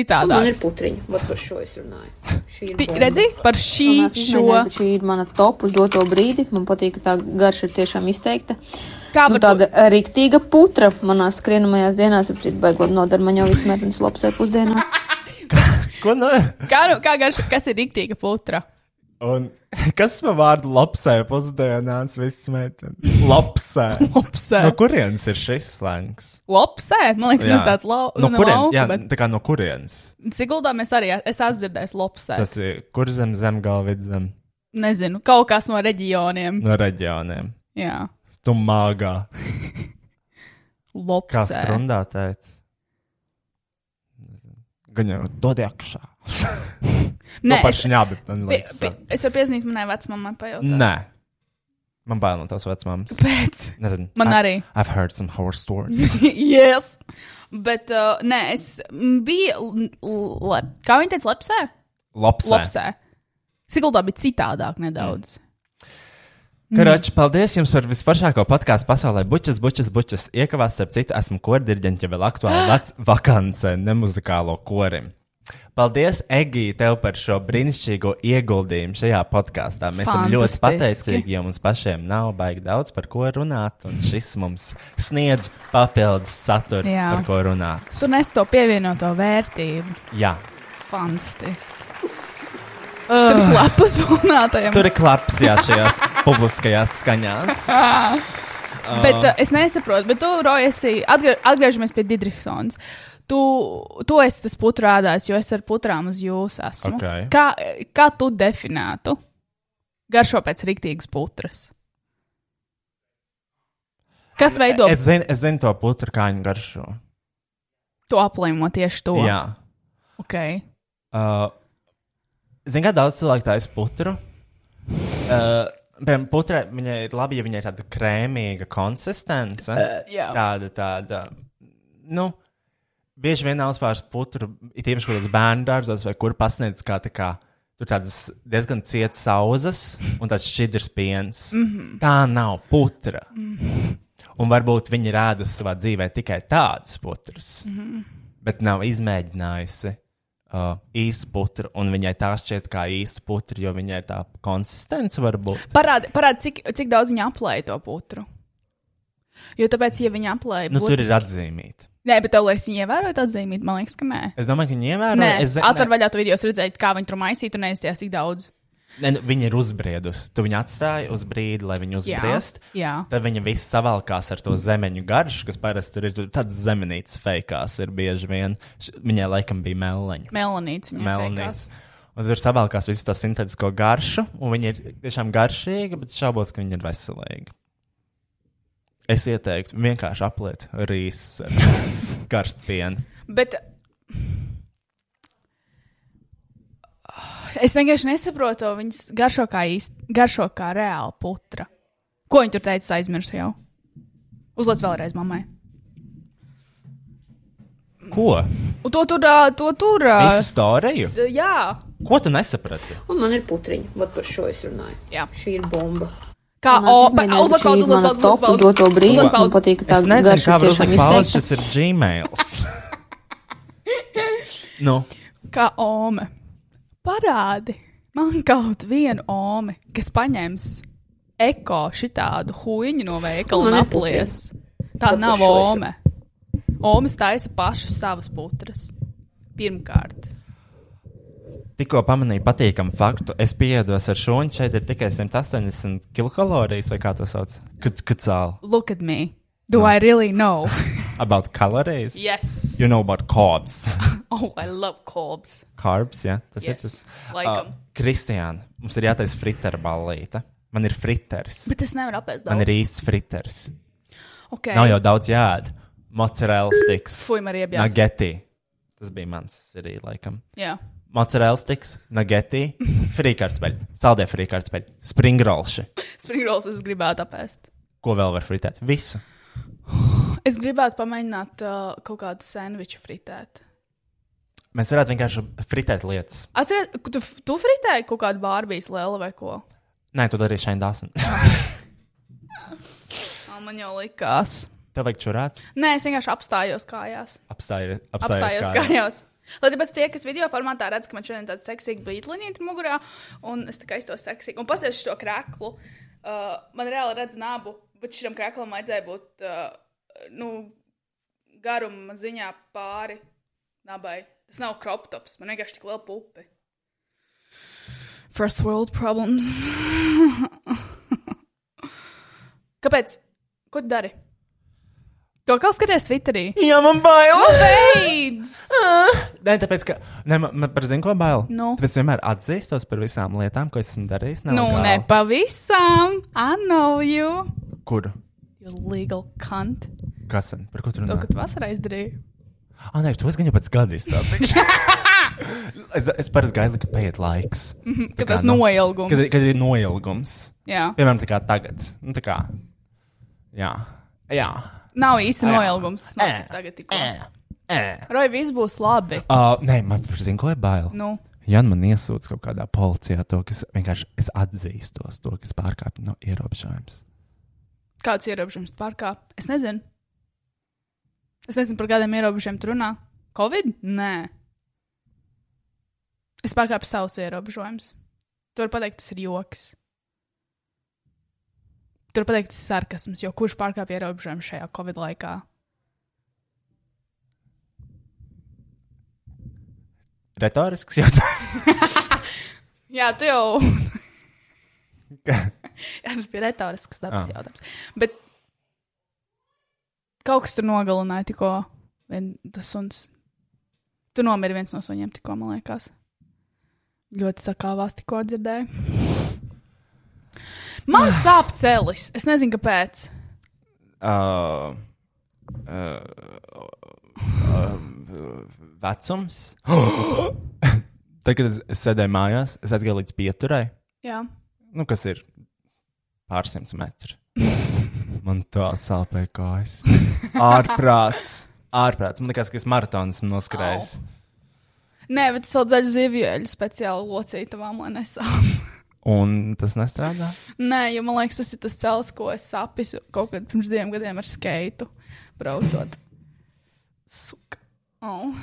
F: Man ir
C: citādāks.
F: putriņa, vat par šo es runāju. Šī ir
C: Ti-
F: bomba.
C: Redzi, par šī
F: Un es
C: šo,
F: izmēģināju, bet Šī ir mana top uz doto brīdi. Man patīk, ka tā garša ir tiešām izteikta.
C: kā
F: Nu,
C: par
F: tāda
C: tādu.
F: rīktīga putra manā skrienamajās dienās, ap citu baigot nodara man jau vismaz viens lapsē pusdienā.
B: Ko no?
C: Kā, nu- kā garš, kas ir rīktīga putra?
B: Un kas par vārdu lapsē pusdienās viss meitene? Lapsē.
C: Lopsē.
B: No kurienes ir šis slēgts?
C: Lopsē? Man liekas, tas tāds lau, nu,
B: no Nu, kurienes? Jā,
C: lauka, bet
B: tā kā no kurienes?
C: Siguldā mēs arī, es atdzirdēju lopsē.
B: Tas ir kur zem, zem, galva vidzem
C: Nezinu, kaut kas no reģioniem.
B: no reģioniem.
C: Jā,
B: Stumāgā. Kā
C: lopsē.
B: skrundā teikt? Gan jau dod iekšā. Nu,
C: Nē,
B: par
C: es,
B: šņābi, man
C: pi,
B: liekas.
C: pi, es varu piezīmēt manai vecmāmai pajautāt.
B: Nē. Man bail no tās vecmāmas.
C: Pēc.
B: Nezinu.
C: Man
B: I-
C: arī.
B: I've heard some horror stories.
C: yes. Bet, uh, nē, es mm, biju. l- l- lep- Kā viņi teica, lepsē?
B: Lapsē. Lapsē.
C: Lopsē. Siguldā bija citādāk nedaudz.
B: Mm. Karoči, paldies jums par visforšāko podkāstu pasaulē. Bučas, bučas, bučas. Iekavās, starp citu, esmu kordirģents, ja vēl aktuāli vec vakance, ne muzikālo korim. Paldies, Egī, tev par šo brīnišķīgo ieguldījumu šajā podkāstā. Mēs esam ļoti
C: Fantastiski.
B: pateicīgi, jo mums pašiem nav baigi daudz par ko runāt, un šis mums sniedz papildus saturu,
C: Jā.
B: par ko runāt.
C: Tu nes to pievienoto vērtību.
B: Jā,
C: Fantastiski. Tur bija lapas būvnātajiem.
B: tur ir klaps jā, šajās publiskajās skaņās.
C: Ah.
B: Ah.
C: Bet uh, es nesaprotu, bet tu, Roja, esi atgrie atgriežamies pie Digitrisons. Tu, tu esi tas putrādājs, jo es ar putrām uz jums esmu.
B: Ok.
C: Kā, kā tu definētu garšo pēc rīktīgas putras? Kas veido
B: Es zinu, es zinu to putekļu kāņu garšu.
C: to aplīmo tieši to?
B: Jā.
C: Okay.
B: Uh, Zinu, kā daudz cilvēku taisa putru. Uh, Piemēram, putra, viņai ir labi, ja viņai ir tāda krēmīga konsistence. Uh,
C: jā.
B: Tāda, tāda. Nu, bieži vien uzpārs putru, it īpaši kaut kādos bērnu dārzos vai kur pasniedz kā tā kā. Tur tādas diezgan cietas auzas un tāds šķidrs piens. Mm -hmm. Tā nav putra. Mm -hmm. Un varbūt viņa rāda savā dzīvē tikai tādas putras, mm -hmm. bet nav izmēģinājusi uh, īstu putru, un viņai tā šķiet kā īsta putra, jo viņai tā konsistence var būt.
C: Parādi, parādi cik, cik daudz viņa aplēja to putru. Jo tāpēc, ja viņa aplēja,
B: Nu, tur ir
C: būtiski-
B: atzīmīta.
C: Nē, bet tev liekas, viņa ievērot atzīmīt, man liekas, ka nē.
B: Es domāju, ka viņi ievēro.
C: Nē,
B: es,
C: atver vaļā tu video, redzēji, kā viņi tur maisīja, tur neizties tik daudz.
B: ne, nu, viņa ir uzbriedusi. Tu viņu atstāji uz brīdi, lai viņu
C: Jā,
B: uzbriest.
C: jā.
B: Tad viņa viss savalkās ar to zemeņu garšu, kas parasti tur ir tur tāds zemenīts feikās. Ir bieži vien Š- viņai laikam bija meleņa.
C: Melanīts.
B: Melnīts. Un tur savākās visu to sintētisko garšu, un viņa ir tiešām garšīga, bet šaubos, ka viņa ir veselīga. Es ieteiktu vienkārši apliet rīsus ar karstu pienu.
C: Bet es vienkārši nesaprotu, to. viņas garšo kā īsti, garšo kā reāla putra. Ko viņa tur teica, es aizmirsu jau. Uzliec vēlreiz mammai.
B: Ko?
C: Un to tur, ā, to tur. ā,
B: Visu storiju?
C: d- Jā,
B: Ko tu nesaprati?
F: Un man ir putriņa, vat par šo es runāju.
C: Jā.
F: Šī ir bomba.
C: kā
F: Un es izmēģināju,
C: uzliek
F: bet šī
C: pauzi,
F: ir
C: uzliek
F: mana
C: pauzi,
F: top uz
C: uzliek
F: doto
C: pauzi.
F: brīdi.
C: Uzliek
F: Man
C: pauzi.
F: patīk, ka tā
B: Es nezinu,
F: garša
B: kā
F: ir
B: var
F: tiešām
B: uzlikt pauzi,
F: izteikta.
B: šis ir Gmails. nu,
C: Kā ome. Parādi man kaut vienu omi, kas paņems eko šitādu huīņu no veikala un
F: Man ir
C: aplies. Tā
F: Tad
C: nav
F: par šo es-
C: ome. Omas taisa pašas savas putras. Pirmkārt.
B: tikko pamanīju patīkamu faktu. Es pieedos ar šo, un šeit ir tikai 180 kilokalorijas, vai kā to sauc? Kad, kad cēl?
C: Look at me. Do I really know?
B: About calories?
C: yes.
B: You know about carbs.
C: Oh, I love carbs.
B: carbs, jā, tas
C: Yes.
B: ir tas. ah,
C: Like 'em.
B: Kristiāna, mums ir jātaisa fritāra ballīte. Man ir fritārs.
C: Bet es nevaru apēst
B: Man ir
C: daudz.
B: īsts fritārs.
C: Okay.
B: Nav jau daudz jādara. Mozzarella stiks.
C: Fui, man ir iebjās.
B: Nageti. Tas bija mans arī laikam.
C: Jā.
B: Mozzarella stiks, nageti, frīkartupeļi, saldē frīkartupeļi, springrolši.
C: Springrolls es gribētu apēst.
B: Ko vēl var fritēt? Visu.
C: Es gribētu pamēģināt uh, kaut kādu sandviču fritēt.
B: Mēs varētu vienkārši fritēt lietas.
C: Atcerieties, ka tu, f- tu fritēji kaut kādu bārbijas lēlu vai ko?
B: Nē, tu dari šai dāsni.
C: Ā, Man jau likās.
B: Tev vajag čurāt.
C: Nē, es vienkārši apstājos kājās.
B: Apstājies.
C: Apstājos kājās. Lai tāpēc tie, kas video formātā redz, ka man šodien tāds seksīgs beidliņš mugurā, un es tikai to seksīgu, un pasties šo krēklu, uh, man reāli redz nabu, bet šim krēklam vajadzēja būt, uh, nu, garuma ziņā pāri nabai. Tas nav kroptops, man vienkārši tik liela pupi. First world problems. Kāpēc? Ko tu dari? To kā skaties Twitterī?
B: Jā, man bail!
C: Beidz!
B: Nē, tāpēc, ka. Nē, man, man par zinu, ko bail.
C: Nu.
B: Tāpēc es vienmēr atzīstos par visām lietām, ko esmu darījis.
C: Nu,
B: nelegāli.
C: ne pavisam. I know you.
B: Kur?
C: You legal cunt.
B: Kas ir? Par ko tur
C: To, ka
B: runā?
C: tu vasarā izdarīji.
B: Ah, nē, to es gan jau pēc gada izstāstīju. es es parasti gaidu, ka paiet laiks. Tā
C: Mhm, Kad
B: kā
C: tas
B: no-
C: noilgums.
B: Kad, kad ir noilgums.
C: Jā,
B: Piemēram, tā kā tagad. Nu, tā kā. Jā. Jā.
C: nav īsti noilgums. Tas
B: Ē.
C: notika tagad tikko.
B: Ē.
C: Roj, viss būs labi.
B: Uh, nē, man par zinu, ko ir bail.
C: Nu,
B: Ja nu man iesūdz kaut kādā policijā to, kas vienkārši es atzīstos to, kas pārkāpj no ierobežojums.
C: kāds ierobežojums pārkāp? Es nezinu. Es nezinu, par kādiem ierobežojumiem tu runā. Covid? Nē. Es pārkāpu savus ierobežojumus. Tu vari pateikt, tas ir joks. Tu vari pateikt, tas ir sarkasms, jo kurš pārkāpj ierobežojumus šajā Covid laikā?
B: Retorisks jautājums.
C: Jā, tu jau.
B: Ka-
C: Jā, tas bija retorisks dabas
B: Ah.
C: jautājums. Bet kaut kas tur nogalināja tikko. Vien tas suns. Tu nomiri viens no suņiem tikko, man liekas. Ļoti sakāvās tikko dzirdēju. Man sāp celis. Es nezinu, kāpēc.
B: Uh, uh, uh, vecums. Tad, kad es, es sēdēju mājās, es aizgāju līdz pieturai,
C: Jā,
B: nu, kas ir pārsimts metri. Man tā sāpēja kājas. Ārprāts. Ārprāts. Man liekas, ka es maratonu esmu noskrējis.
C: Nē, bet es vēl dzeļu zivju speciāli locīju tavām, lai nesāp.
B: Un tas nestrādā.
C: Nē, jo man liekas, tas ir tas celis, ko es sapisu kaut kad pirms diviem gadiem ar skeitu braucot. Suka. Oh.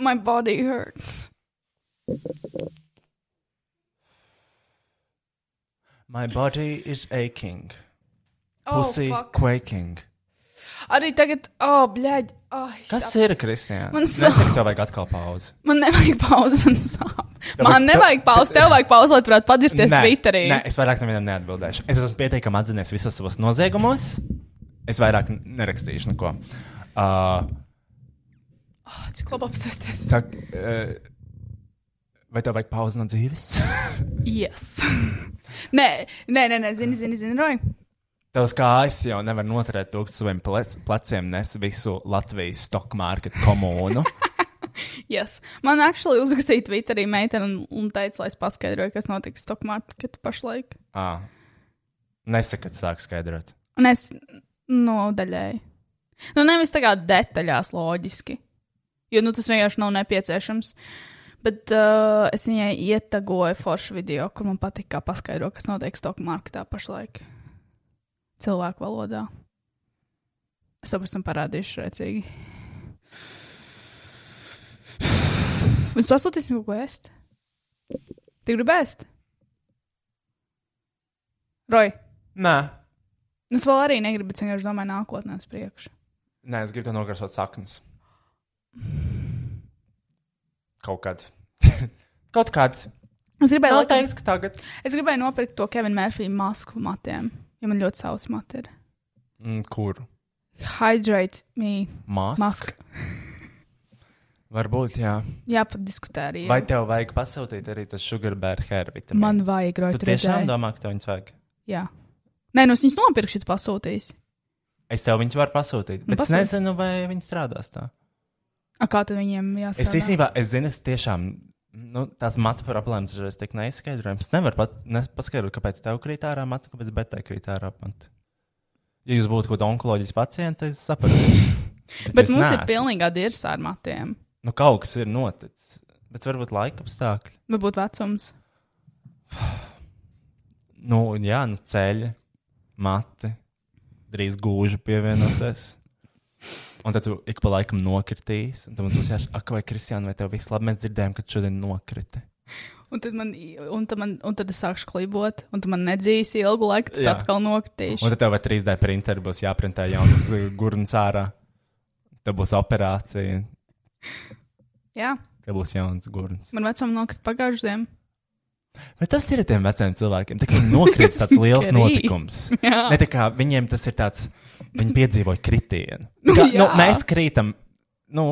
C: My body hurts.
B: My body is aching.
C: Oh,
B: Pussy oh,
C: fuck.
B: quaking.
C: Arī tagad, oh, bļaģ. Oh,
B: Kas ir, Kristija?
C: Man
B: saka,
C: sāp.
B: tev vajag atkal pauzi.
C: Man nevajag pauzi, man sāp. Man
B: tā-
C: nevajag pauzi, tev vajag pauzi, lai tu varētu padirsties
B: Nē,
C: Twitterī.
B: Nē, es vairāk nevienam neatbildēšu. Es esmu pietiekami atzinies visos savos noziegumos. Es vairāk n- nerakstīšu neko. Uh,
C: Oh, cik labi apsēsties.
B: sak, uh, vai tev vajag pauzi no dzīves?
C: Yes. nē, nē, nē, nē, zini, zini, zini, Roy.
B: Tavs kājas jau nevar noturēt to, ka saviem plec, pleciem nes visu Latvijas stock market komunu.
C: Yes. Man actually uzrakstīja Twitterī meitene un, un teica, lai es paskaidroju, kas notiek stock market pašlaik.
B: ah. Nesaka, kad sāk skaidrot.
C: Un es nodaļēju. Nu, nevis tā kā detaļās loģiski, jo nu, tas vienkārši nav nepieciešams. Bet uh, es viņai ietagoju foršu video, kur man patīk, kā paskaidro, kas notiek stock marketā pašlaik. Cilvēku valodā. Es tev pēc tam parādīšu rēcīgi. Mēs pasūtīsim kaut ko ēst. Tu gribi ēst? Roj,
B: Nē,
C: Nu, es vēl arī negribu, bet es vienkārši domāju, nākotnē uz priekšu.
B: Nē, es gribu to nokrāsot saknes. Kaut kad. Kaut kad.
C: Es gribēju,
B: Nav
C: laikam,
B: teiks, ka tagad.
C: es gribēju nopirkt to Kevina Mārfija masku matiem, jo man ļoti savs mati ir.
B: Mm, kur?
C: Hydrate me
B: Mask.
C: mask.
B: Varbūt, jā.
C: Jāpadiskutē arī.
B: Vai tev vajag pasūtīt arī tas sugarbear hair vitamīns?
C: Man vajag
B: Tu
C: rokt.
B: tiešām domā, ka tev viņas vajag?
C: Jā. Nē, nu es viņus nopirkšu, tu pasūtīsi.
B: Es tev viņas varu pasūtīt,
C: Nu,
B: bet es
C: pasūti.
B: nezinu, vai viņi strādās tā.
C: A, kā tad viņiem jāsaka?
B: Es īstenībā, es zinu, es tiešām, nu, tās matu problēmas ir tik neizskaidrojamas. Nevar pat nepaskaidrot, kāpēc tev krīt ārā matu, kāpēc betai krīt ārā matu. Ja jūs būtu kaut kāda onkoloģijas pacienta, es saprotu.
C: Bet
B: jūs
C: mums ir
B: neesat.
C: pilnīgā dirza ar matiem.
B: Nu, kaut kas ir noticis, bet varbūt laika apstākļi.
C: Varbūt vecums.
B: Nu, un jā, nu, ceļi, mati, drīz gūža pievienosies. Un tad tu ik pa laikam nokritīs. Un tad mums būs jāsaka, ak, vai Kristiāna, vai tev viss labi? Mēs dzirdējām, ka tu šodien nokriti.
C: Un tad, man, un, tad man, un tad es sākšu klibot, un tu man nedzīs ilgu laiku, tad es
B: Jā.
C: atkal nokritīšu.
B: Un tad tev vai 3D printeri būs jāprintē jauns uh, gurns ārā. Tev būs operācija,
C: Jā,
B: tev būs jauns gurns.
C: man vecumam nokrita pagājušajā ziemā.
B: Bet tas ir tiem veciem cilvēkiem. Tā kā viņiem nokrīt tāds liels
C: Krīt.
B: notikums.
C: Jā.
B: Ne tā kā viņiem tas ir tāds, viņi piedzīvoja kritienu. Tā Kā, nu,
C: jā.
B: mēs krītam, nu,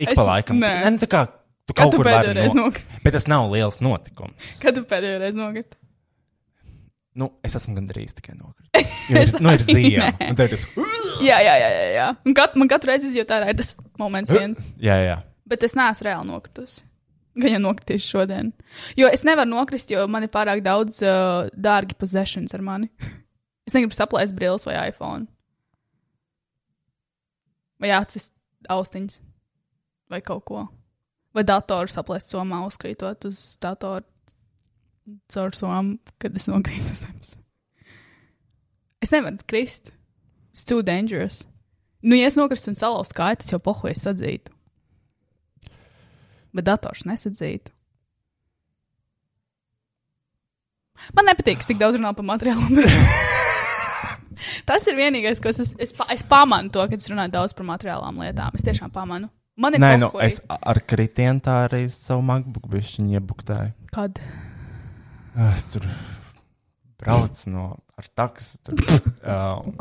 B: ik
C: Es-
B: pa laikam.
C: nē.
B: Ne, nu, tā kā tu nu.
C: Kad
B: kaut
C: tu
B: kur
C: pēdējo
B: vari
C: reizi
B: no...
C: nokriti?
B: Bet tas nav liels notikums.
C: Kad tu pēdējo reizi nokriti?
B: Nu, es esmu gandrīz tikai nokritis. Jo ir- Nu, ir
C: arī
B: ziema.
C: nē.
B: un tev ir tas,
C: Jā, jā, jā. jā, jā. Un kat, man katru reizi izjūt ārā ir tas moments viens.
B: Jā, jā.
C: Bet es neesmu reāli nokritusi. Gan jau nokritīšu šodien. Jo es nevaru nokrist, jo man ir pārāk daudz uh, dārgi possessions ar mani. Es negribu saplēst brilles vai iPhone. Vai acis austiņas. Vai kaut ko. Vai datoru saplēst somā, uzkrītot uz datoru caur somu, kad es nokrītu uz zemes. Es nevaru krist. It's too dangerous. Nu, ja es nokristu un salauzu kāju, tas jau pohoju es sadzītu bet dators nesadzītu. Man nepatīk, ka es tik daudz runāju par materiālu. Tas ir vienīgais, ko es, es, es, pa- es pamanu, to, kad es runāju daudz par materiālām lietām. Es tiešām pamanu. Man ir
B: Nē, nu,
C: pohuj.
B: es a- ar kritienu tā arī savu MacBook bišķiņu iebuktēju. Ah,
C: Kad?
B: Es tur braucu no ar taksi, tur um,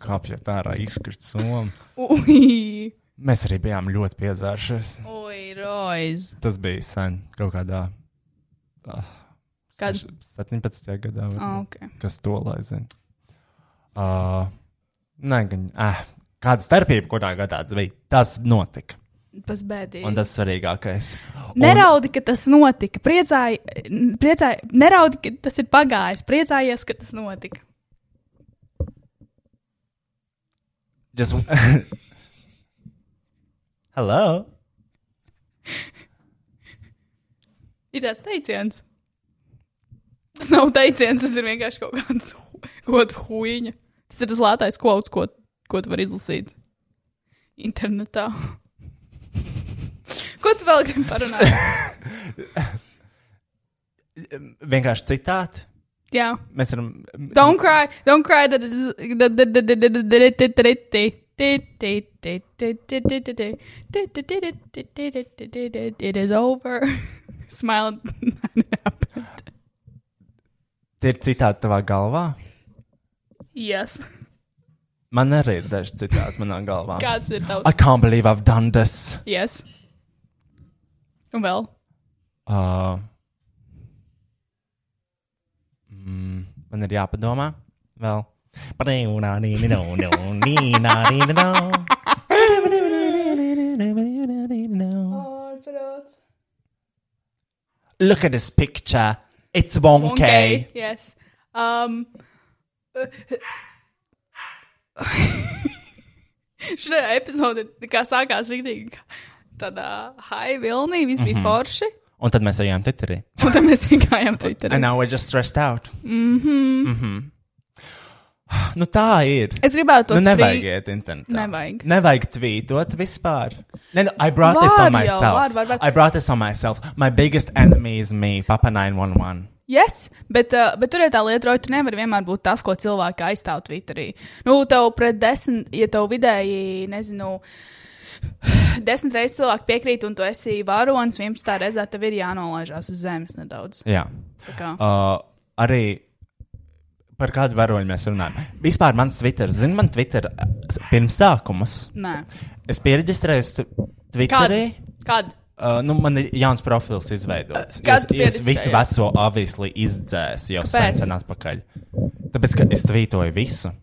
B: kāpjot ārā, izkrīt somu.
C: Ui,
B: Mēs arī bijām ļoti piedzēršies.
C: ui, roiz.
B: Tas bija sen, kaut kādā ah,
C: Kad?
B: seš- 17. gadā,
C: Ah,
B: varbūt,
C: ok.
B: kas to lai zina. Uh, nē, gan eh, kāda starpība, kurā gadā tas bija, tas notika.
C: Tas bēdīgi.
B: Un tas svarīgākais. Un-
C: Neraudi, ka tas notika. Priecāji, priecāji, neraudi, ka tas ir pagājis. Priecājies, ka tas notika.
B: Just...
G: Hello!
C: Ir tāds teiciens. Tas nav teiciens, tas ir vienkārši kaut kāds hu- kaut kāda huīņa. Tas ir tas lētais kods, ko, ko tu vari izlasīt internetā. Ko tu vēl gribi parunāt?
B: Vienkārši citāti.
C: Jā,
B: Mēs varam.
C: don't cry, don't cry. that is- that- that- that- that- that- that- that- that- that- that- that- It is over. Smile.
B: Tie ir citāti tavā galvā.
C: yes.
B: Man arī ir daži citāti manā galvā.
C: Kāds ir tavs?
B: I can't believe I've done this.
C: Yes. Un vēl.
B: Uh, mm, man ir jāpadomā vēl. Look at this picture. It's wonky.
C: Okay. Yes. Um. Šajā epizodē kā sākās rītīgi tādā high vilnī, viss bija forši.
B: Un tad mēs ejam Twitterī.
C: Un tad mēs gājām
B: And
C: Twitterī.
B: now we're just stressed out. Mm-hmm. Mm-hmm. Nu tā ir.
C: Es gribētu to
B: Nu, nevajag iet internetā.
C: Nevajag.
B: Nevajag tvītot vispār. Ne, no, I brought this
C: Var
B: on
C: jau,
B: myself.
C: var, var, var.
B: I brought this on myself. My biggest enemy is me, Papa 911.
C: Yes, bet, uh, bet tur ir tā lieta, ka tu nevari vienmēr būt tas, ko cilvēki aizstāv Twitterī. Nu, tev pret desmit, ja tev vidēji, nezinu, desmit reizes cilvēki piekrīt, un tu esi varonis, vienpadsmitā reizē tev ir jānolaižās uz zemes nedaudz.
B: Jā.
C: Tā kā.
B: Uh, arī par kādu varoņu mēs runājam. Vispār mans Twitter, zini, man Twitter uh, pirmsākumus.
C: Nē,
B: Es piereģistrēju uz tu- Twitterī. Kad?
C: Kad?
B: Uh, nu, man ir jauns profils izveidots.
C: Kad tu
B: es visu
C: piediskājies?
B: veco avīzli izdzēsu jau sen,
C: Kāpēc?
B: sen atpakaļ. Tāpēc, ka es tvītoju visu.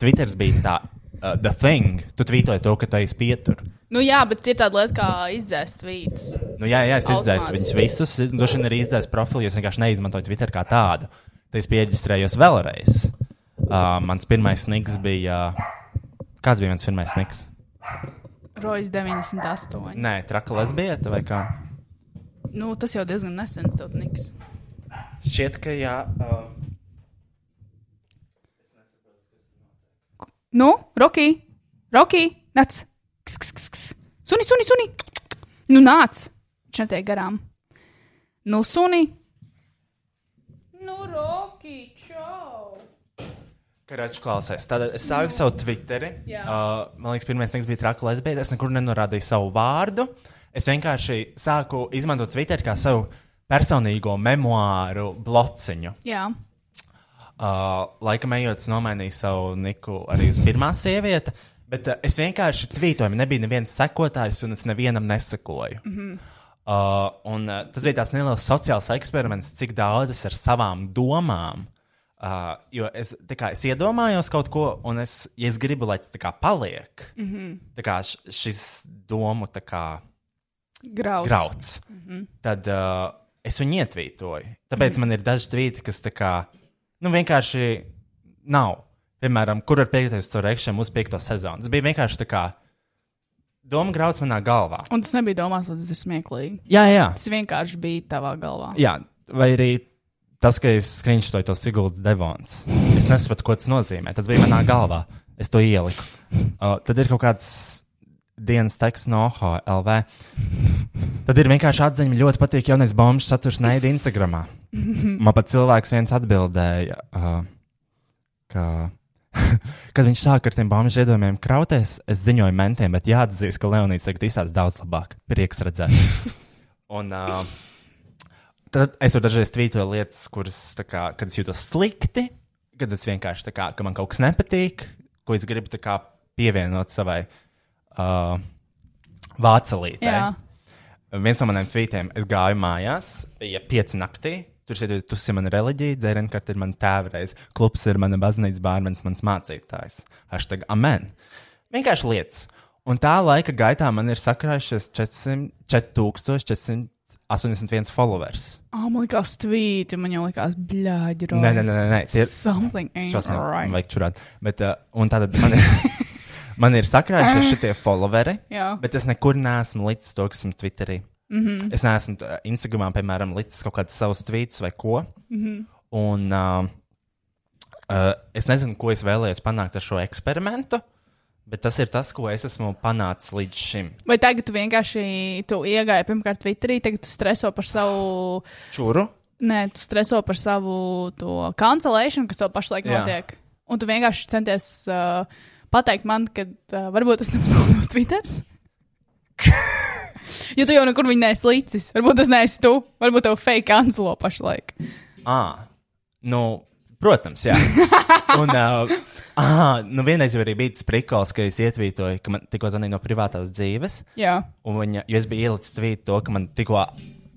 B: Twitter bija tā, uh, the thing. Tu tvītoji to, ka tā ir pietur.
C: Nu jā, bet ir tāda lieta kā izdzēst vītus.
B: Nu, jā, jā, es izdzēsu
C: Automātiski.
B: viņus visus. Es droši vien arī izdzēsu profilu, jo es vienkārši neizmantoju Twitter kā tādu. Tad es pieģistrējos vēlreiz. Uh, mans pirmais niks bija. Kāds bija mans pirmais niks?
C: Rojas 98.
B: Nē, traka lesbieta vai kā?
C: Nu, tas jau diezgan nesens, tas niks.
B: Šķiet, ka jā. Uh...
C: Nu, Roki, Roki, nāc! Ks, ks, ks, ks. Suni, suni, suni! Nu, nāc! Viņš netiek garām. Nu, suni! Nu, Roki, čau!
B: Karačs klausās. Tātad es sāku savu Twitteri.
C: Jā.
B: Uh, man liekas, pirmais niks bija traka lesbieta. Es nekur nenorādīju savu vārdu. Es vienkārši sāku izmantot Twitteri kā savu personīgo memoāru blociņu.
C: Jā,
B: Uh, laikam ejot, es nomainīju savu niku arī uz pirmā sievieti. Bet uh, es vienkārši tvītoju, man nebija neviens sekotājs, un es nevienam nesakoju. Mm -hmm. uh, un, uh, tas bija tāds neliels sociāls eksperiments, cik daudz es ar savām domām. Uh, jo es, tā kā, es iedomājos kaut ko, un es, ja es gribu, lai tas tā kā paliek. Mm -hmm. Tā kā š- šis domu tā kā
C: grauds.
B: grauds. Mm -hmm. Tad uh, es viņu ietvītoju. Tāpēc mm -hmm. man ir daži tvīti, kas tā kā, nu, vienkārši nav. Piemēram, kur var pieteikties to reikšanu uz piekto sezonu. Tas bija vienkārši tā kā doma grauds manā galvā.
C: Un tas nebija domāts, ka tas ir smieklīgi.
B: Jā, jā.
C: Tas vienkārši bija tavā galvā.
B: jā. Vai arī tas, ka es skriņšoju to Siguldas devons. Es nesaprotu, ko tas nozīmē. Tas bija manā galvā. Es to ieliku. Uh, tad ir kaut kāds dienas teksts no HLV. Tad ir vienkārši atziņa, man ļoti patīk jaunais bombu saturs naida Instagram. Man pat cilvēks viens atbildēja, uh, ka, kad viņš sāka ar tiem bombu ziedojumiem krauties, es ziņoju mentiem, bet jāatzīst, ka Leonīds tagad izsācis daudz labāk. Prieks redzēt. Un, uh, tad es tur dažreiz tvītoju lietas, kuras, tā kā, kad es jūtos slikti, kad es vienkārši tā kā, ka man kaut kas nepatīk, ko es gribu tā kā pievienot savai uh, vācelītei.
C: Jā.
B: Viens no maniem tvītiem, es gāju mājās, bija pieci naktī. Tur šeit tu esi mana reliģija, dzērienkārta ir mana tēvreiz, klubs ir mana baznīca, bārmenis, mans mācītājs. Hashtag amen. Vienkārši lietas. Un tā laika gaitā man ir sakrājušies 400 4481 followers.
C: Ah, man likās, tvīti, man jau likās, bļāģi,
B: Nē, nē, nē, nē, nē. Tie ir
C: Something ain't
B: šos man
C: right.
B: vajag čurāt. Bet, uh, un tātad man ir, man ir sakrājušies šie followeri.
C: Jā.
B: Bet es nekur neesmu līdz to, kas esmu Twitterī. Mm -hmm. Es neesmu tā, Instagramā, piemēram, līdz kaut kādus savus tvītus vai ko. Mm -hmm. Un uh, uh, es nezinu, ko es vēlējos panākt ar šo eksperimentu, bet tas ir tas, ko es esmu panācis līdz šim.
C: Vai tagad tu vienkārši tu iegāji, pirmkārt, Twitterī, tagad tu streso par savu,
B: Čuru?
C: nē, tu streso par savu to kancelēšanu, kas tev pašlaik
B: Jā.
C: Jā. notiek. Un tu vienkārši centies uh, pateikt man, ka uh, varbūt tas nemaz nav tavs Twitter. Jo tu jau nekur viņu neslīcis. Varbūt tas neesi tu. Varbūt tev fake kancelo pašlaik.
B: Ah, nu, protams, jā. Un, uh, ah, nu, vienreiz jau arī bija tas prikals, ka es ietvītoju, ka man tikko zvanīja no privātās dzīves.
C: Jā.
B: Un viņa, jo es biju ielicis tvītu to, ka man tikko,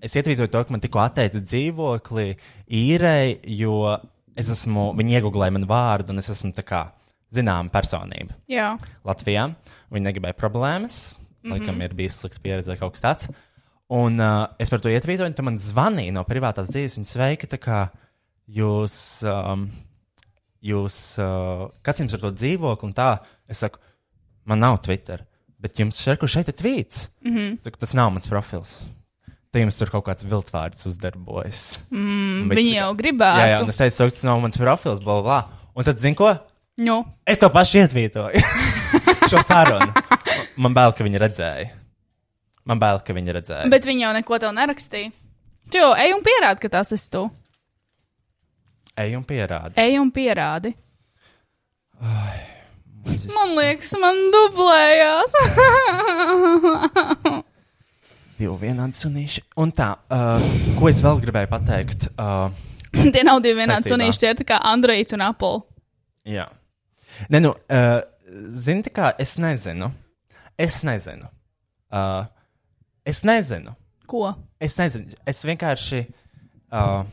B: es ietvītoju to, ka man tikko atteica dzīvokli īrei, jo es esmu, viņi iegooglēja man vārdu un es esmu tā kā zināma personība
C: Jā.
B: Latvijā. Viņi negribēja problēmas, mm -hmm.
C: Mhm.
B: laikam ir bijusi slikta pieredze vai kaut kas tāds. Un uh, es par to ietvītoju, un tad man zvanīja no privātās dzīves, viņa sveika, tā kā jūs, um, jūs uh, kas jums ar to dzīvokli un tā. Es saku, man nav Twitter, bet jums šerku šeit ir tvīts. Mm
C: Mhm.
B: -hmm. saku, Tas nav mans profils. Te jums tur kaut kāds viltvārds uzdarbojas. Mm,
C: Viņi
B: Jā, jā,
C: jau gribētu.
B: un es teicu, saku, tas nav mans profils, bla, bla, bla. Un tad, zinu, ko?
C: Nu,
B: Es to pašu ietvītoju. Šo sarunu. Man bail, ka viņi redzēja. Man bail, ka viņi redzēja.
C: bet viņi jau neko tev nerakstīja. Tu jau ej un pierādi, ka tas esi tu.
B: Ej un pierādi.
C: Ej un pierādi.
B: Es-
C: Man liekas, man dublējās.
B: Divi vienādi sunīši. Un tā, uh, ko es vēl gribēju pateikt? Uh,
C: Tie nav divi vienādi
B: Sasībā.
C: sunīši, tie ir tā kā Androids un Apple.
B: jā. Nē, nu, uh, zini, tā kā es nezinu. Es nezinu. Uh, Es nezinu.
C: Ko?
B: Es nezinu. Es vienkārši. Uh,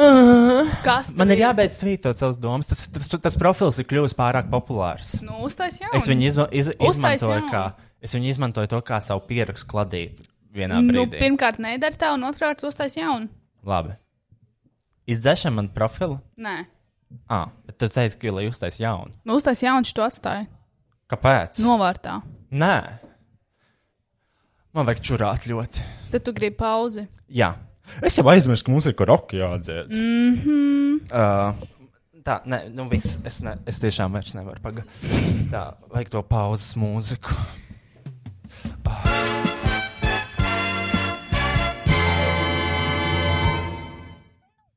B: Uh,
C: Kas
B: man
C: tev
B: ir jābeidz tvītot savas domas. Tas, tas, tas profils ir kļuvis pārāk populārs.
C: Nu, uztais jau.
B: Es viņu izma iz
C: Uztais
B: izmantoju,
C: jaunu.
B: kā, es viņu izmantoju to kā savu pierakstu kladīti vienā
C: Nu,
B: brīdī.
C: pirmkārt, nedara tā, un otrkārt, uztais jaunu.
B: Labi. Izdzēšam man profilu.
C: Nē,
B: Ah, bet tu teici, ka lai uztais jaunu.
C: nu, uztais jaunu šo atstāju.
B: Kāpēc?
C: Novārtā.
B: Nē. Man vajag čurāt ļoti.
C: Tad tu gribi pauzi.
B: Jā. Es jau aizmirsu, ka mums ir koroki jādzied. Mm -hmm. uh, tā, nē, nu viss. Es, ne, es tiešām vairs nevaru pagaidīt. Tā, vajag to pauzes mūziku.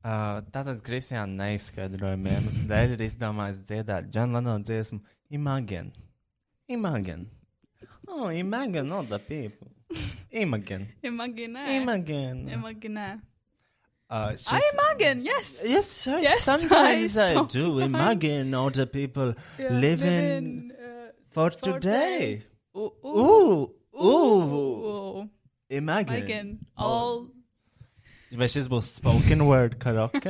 B: Uh, tātad Kristiāna neizskaidrojuma iemesla dēļ ir izdomājis dziedāt Džana Lano dziesmu Imagine. Imagine. Oh, imagine all the people. Imagine.
C: Imaginē.
B: Imagine.
C: Imaginē.
B: Uh, it's
C: Ai,
B: just-
C: imagine, yes!
B: Yes, sir.
C: Yes,
B: sometimes
C: I
B: I, do imagine other people
C: Yeah,
B: living
C: uh,
B: for
C: for
B: today.
C: Ooh,
B: Ooh, ooh,
C: ooh.
B: imagine.
C: Again, all...
B: Vai šis būs spoken word karaoke?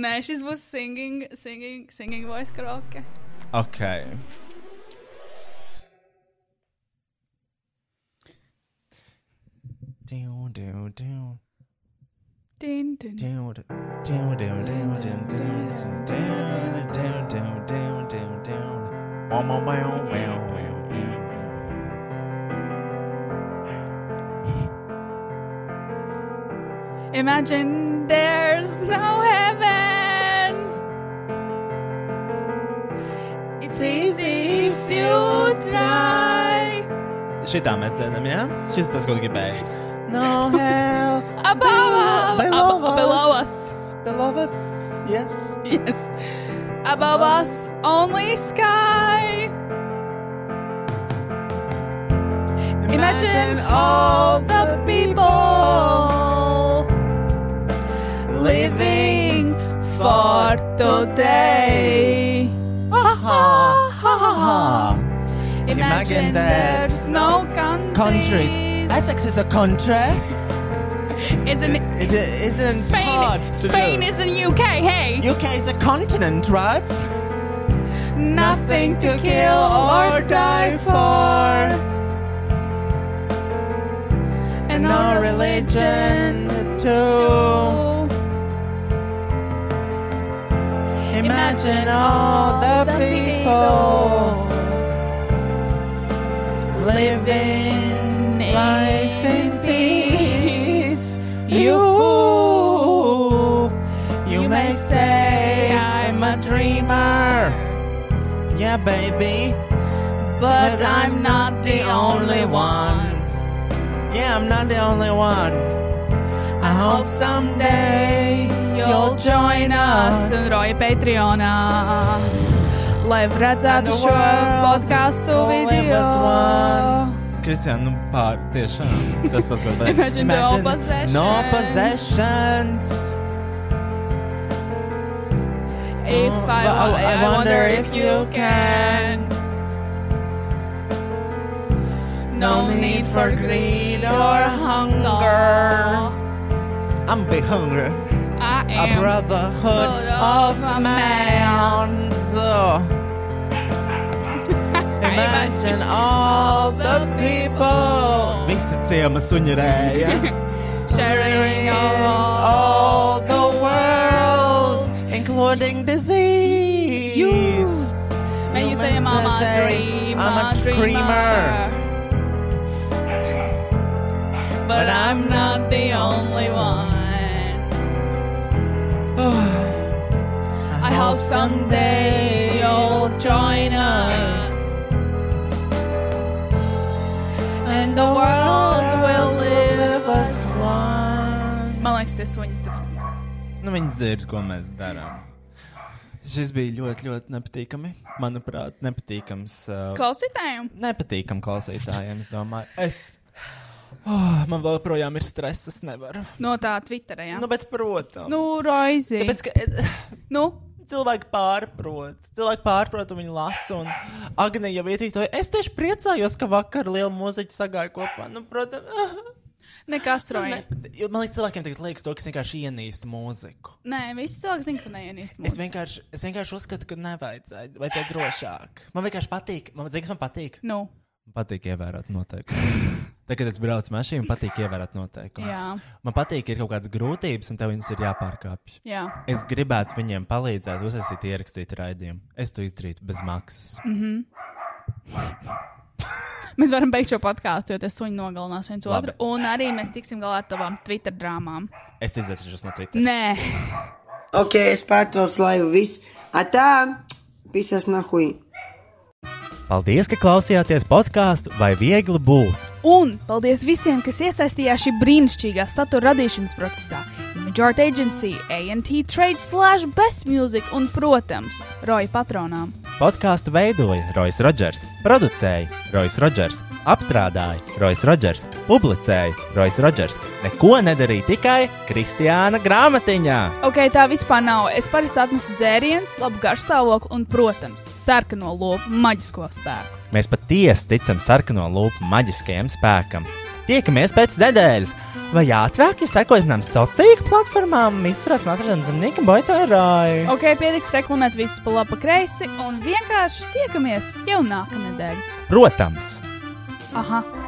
C: Nē, šis būs singing, singing, singing voice karaoke.
B: ok. Diu, diu, diu,
C: Din, din.
B: diu, diu, diu, diu, diu, diu, diu, diu, diu, diu, diu, diu, diu. Wow, wow, wow, wow, wow, wow.
C: Imagine there's no heaven. It's easy if you try.
B: Šitā mēs dzirdam, jā? Šis tas, ko tu gribēji. No hell,
C: Above,
B: below
C: ab-
B: us.
C: below us.
B: Below us, yes.
C: Yes. Above us, only sky. Imagine all the people living for today. Imagine
B: Imagine that
C: there's no
B: Countries.
C: countries.
B: Essex is a country.
C: Isn't
B: It isn't hard to
C: Spain? Spain
B: do.
C: is in UK. Hey,
B: UK is a continent, right?
C: nothing to kill or die for. And
B: No
C: our
B: religion
C: religion.
B: too. Imagine all the people living life in peace. You, you may say I'm a dreamer. Yeah, baby,
C: But I'm not the only one.
B: Yeah, I'm not the only one. I hope someday you'll join us.
C: un Roja Patreonā. Lai
B: And the
C: redzētu šo
B: world
C: podkāstu
B: will live
C: video.
B: as one. Kristian, nu pār, tiešām. Tas tas, ko bet-
C: Imagine no possessions.
B: No possessions.
C: If Oh, I,
B: But
C: wa- I wonder if you can. No need for greed or hunger.
B: I'm big hungry.
C: I
B: A
C: am
B: brotherhood
C: of
B: of
C: a
B: man's. Imagine all the people. Visi ciema suņurēja.
C: sharing all.
B: all the world, including disease.
C: And you say, Mama, dream,
B: I'm a dreamer.
C: But I'm not the only one. I hope someday you'll join us. And the world will live as one. Man liekas, tie suņi tur.
B: Nu, viņi dzird, ko mēs darām. Šis bija ļoti, ļoti nepatīkami. Manuprāt, nepatīkams. Uh,
C: Klausītājiem?
B: nepatīkam klausītājiem, es domāju. Es. Oh, man vēl joprojām ir stress, es nevaru.
C: No tā Twitterā, jā.
B: Nu, bet, protams.
C: Nu, Roizi.
B: Tāpēc, ka,
C: Nu,
B: cilvēki pārprot. Cilvēki pārprot, un viņi lasa, un Agnija jau ietītoja. Es tieši priecājos, ka vakar liela mūziķa sagāja kopā. Nu, protams,
C: Nekas roja.
B: Nu, ne, jo man liekas, cilvēkiem tagad liekas to, kas vienkārši ienīst mūziku.
C: Nē, visi cilvēki zina, ka neienīst
B: Es
C: mūziku.
B: vienkārši, es vienkārši uzskatu, ka nevajadzēja, vajadzēja drošāk. Man vienkārši patīk, man, zinu, kas man patīk.
C: Nu,
B: Man patīk ievērot noteikumus. Tagad, kad es braucu mašīnu, man patīk ievērot noteikumus.
C: Jā.
B: Man patīk, ir kaut kādas grūtības, un tev viņas ir jāpārkāpj.
C: jā.
B: Es gribētu viņiem palīdzēt, uzsākt, ierakstīt raidījumu. Es to izdarītu bez maksas.
C: Mēs varam beigt šo podkāstu, jo tas suņi nogalinās viens otru. Un arī mēs tiksim galā ar tavām Twitter drāmām.
B: Es izdzēsu jūs no Twitter.
C: Nē,
H: Ok, es pārtraucu laivu, viss. Atā, pisas nahui.
B: Paldies, ka klausījāties podkāstu vai viegli būt.
C: un paldies visiem, kas iesaistījās šī brīnišķīgā satura radīšanas procesā. Image Art Agency, ANT Trade, Slash, Best Music un, protams, Roja patronām.
B: Podkāstu veidoja Rois Rodžers, producēja Rois Rodžers, apstrādāja Rois Rodžers, publicēja Rois Rodžers. Neko nedarīja tikai Kristiāna grāmatiņā.
C: Ok, tā vispār nav. Es parasti atnesu dzērienus, labu garšstāvokli un, protams, sarkano lopu maģisko spēku.
B: Mēs patiesi ticam sarkano lupu maģiskajam spēkam. Tiekamies pēc nedēļas, vai ātrāk, ja sekojat mums sociālajām tīkla platformām, visurās matradienas zemnieka boitārāju.
C: Ok, pietiks reklamēt visus pa labi, pa kreisi un vienkārši tiekamies jau nākamnedēļ.
B: Protams!
C: Aha!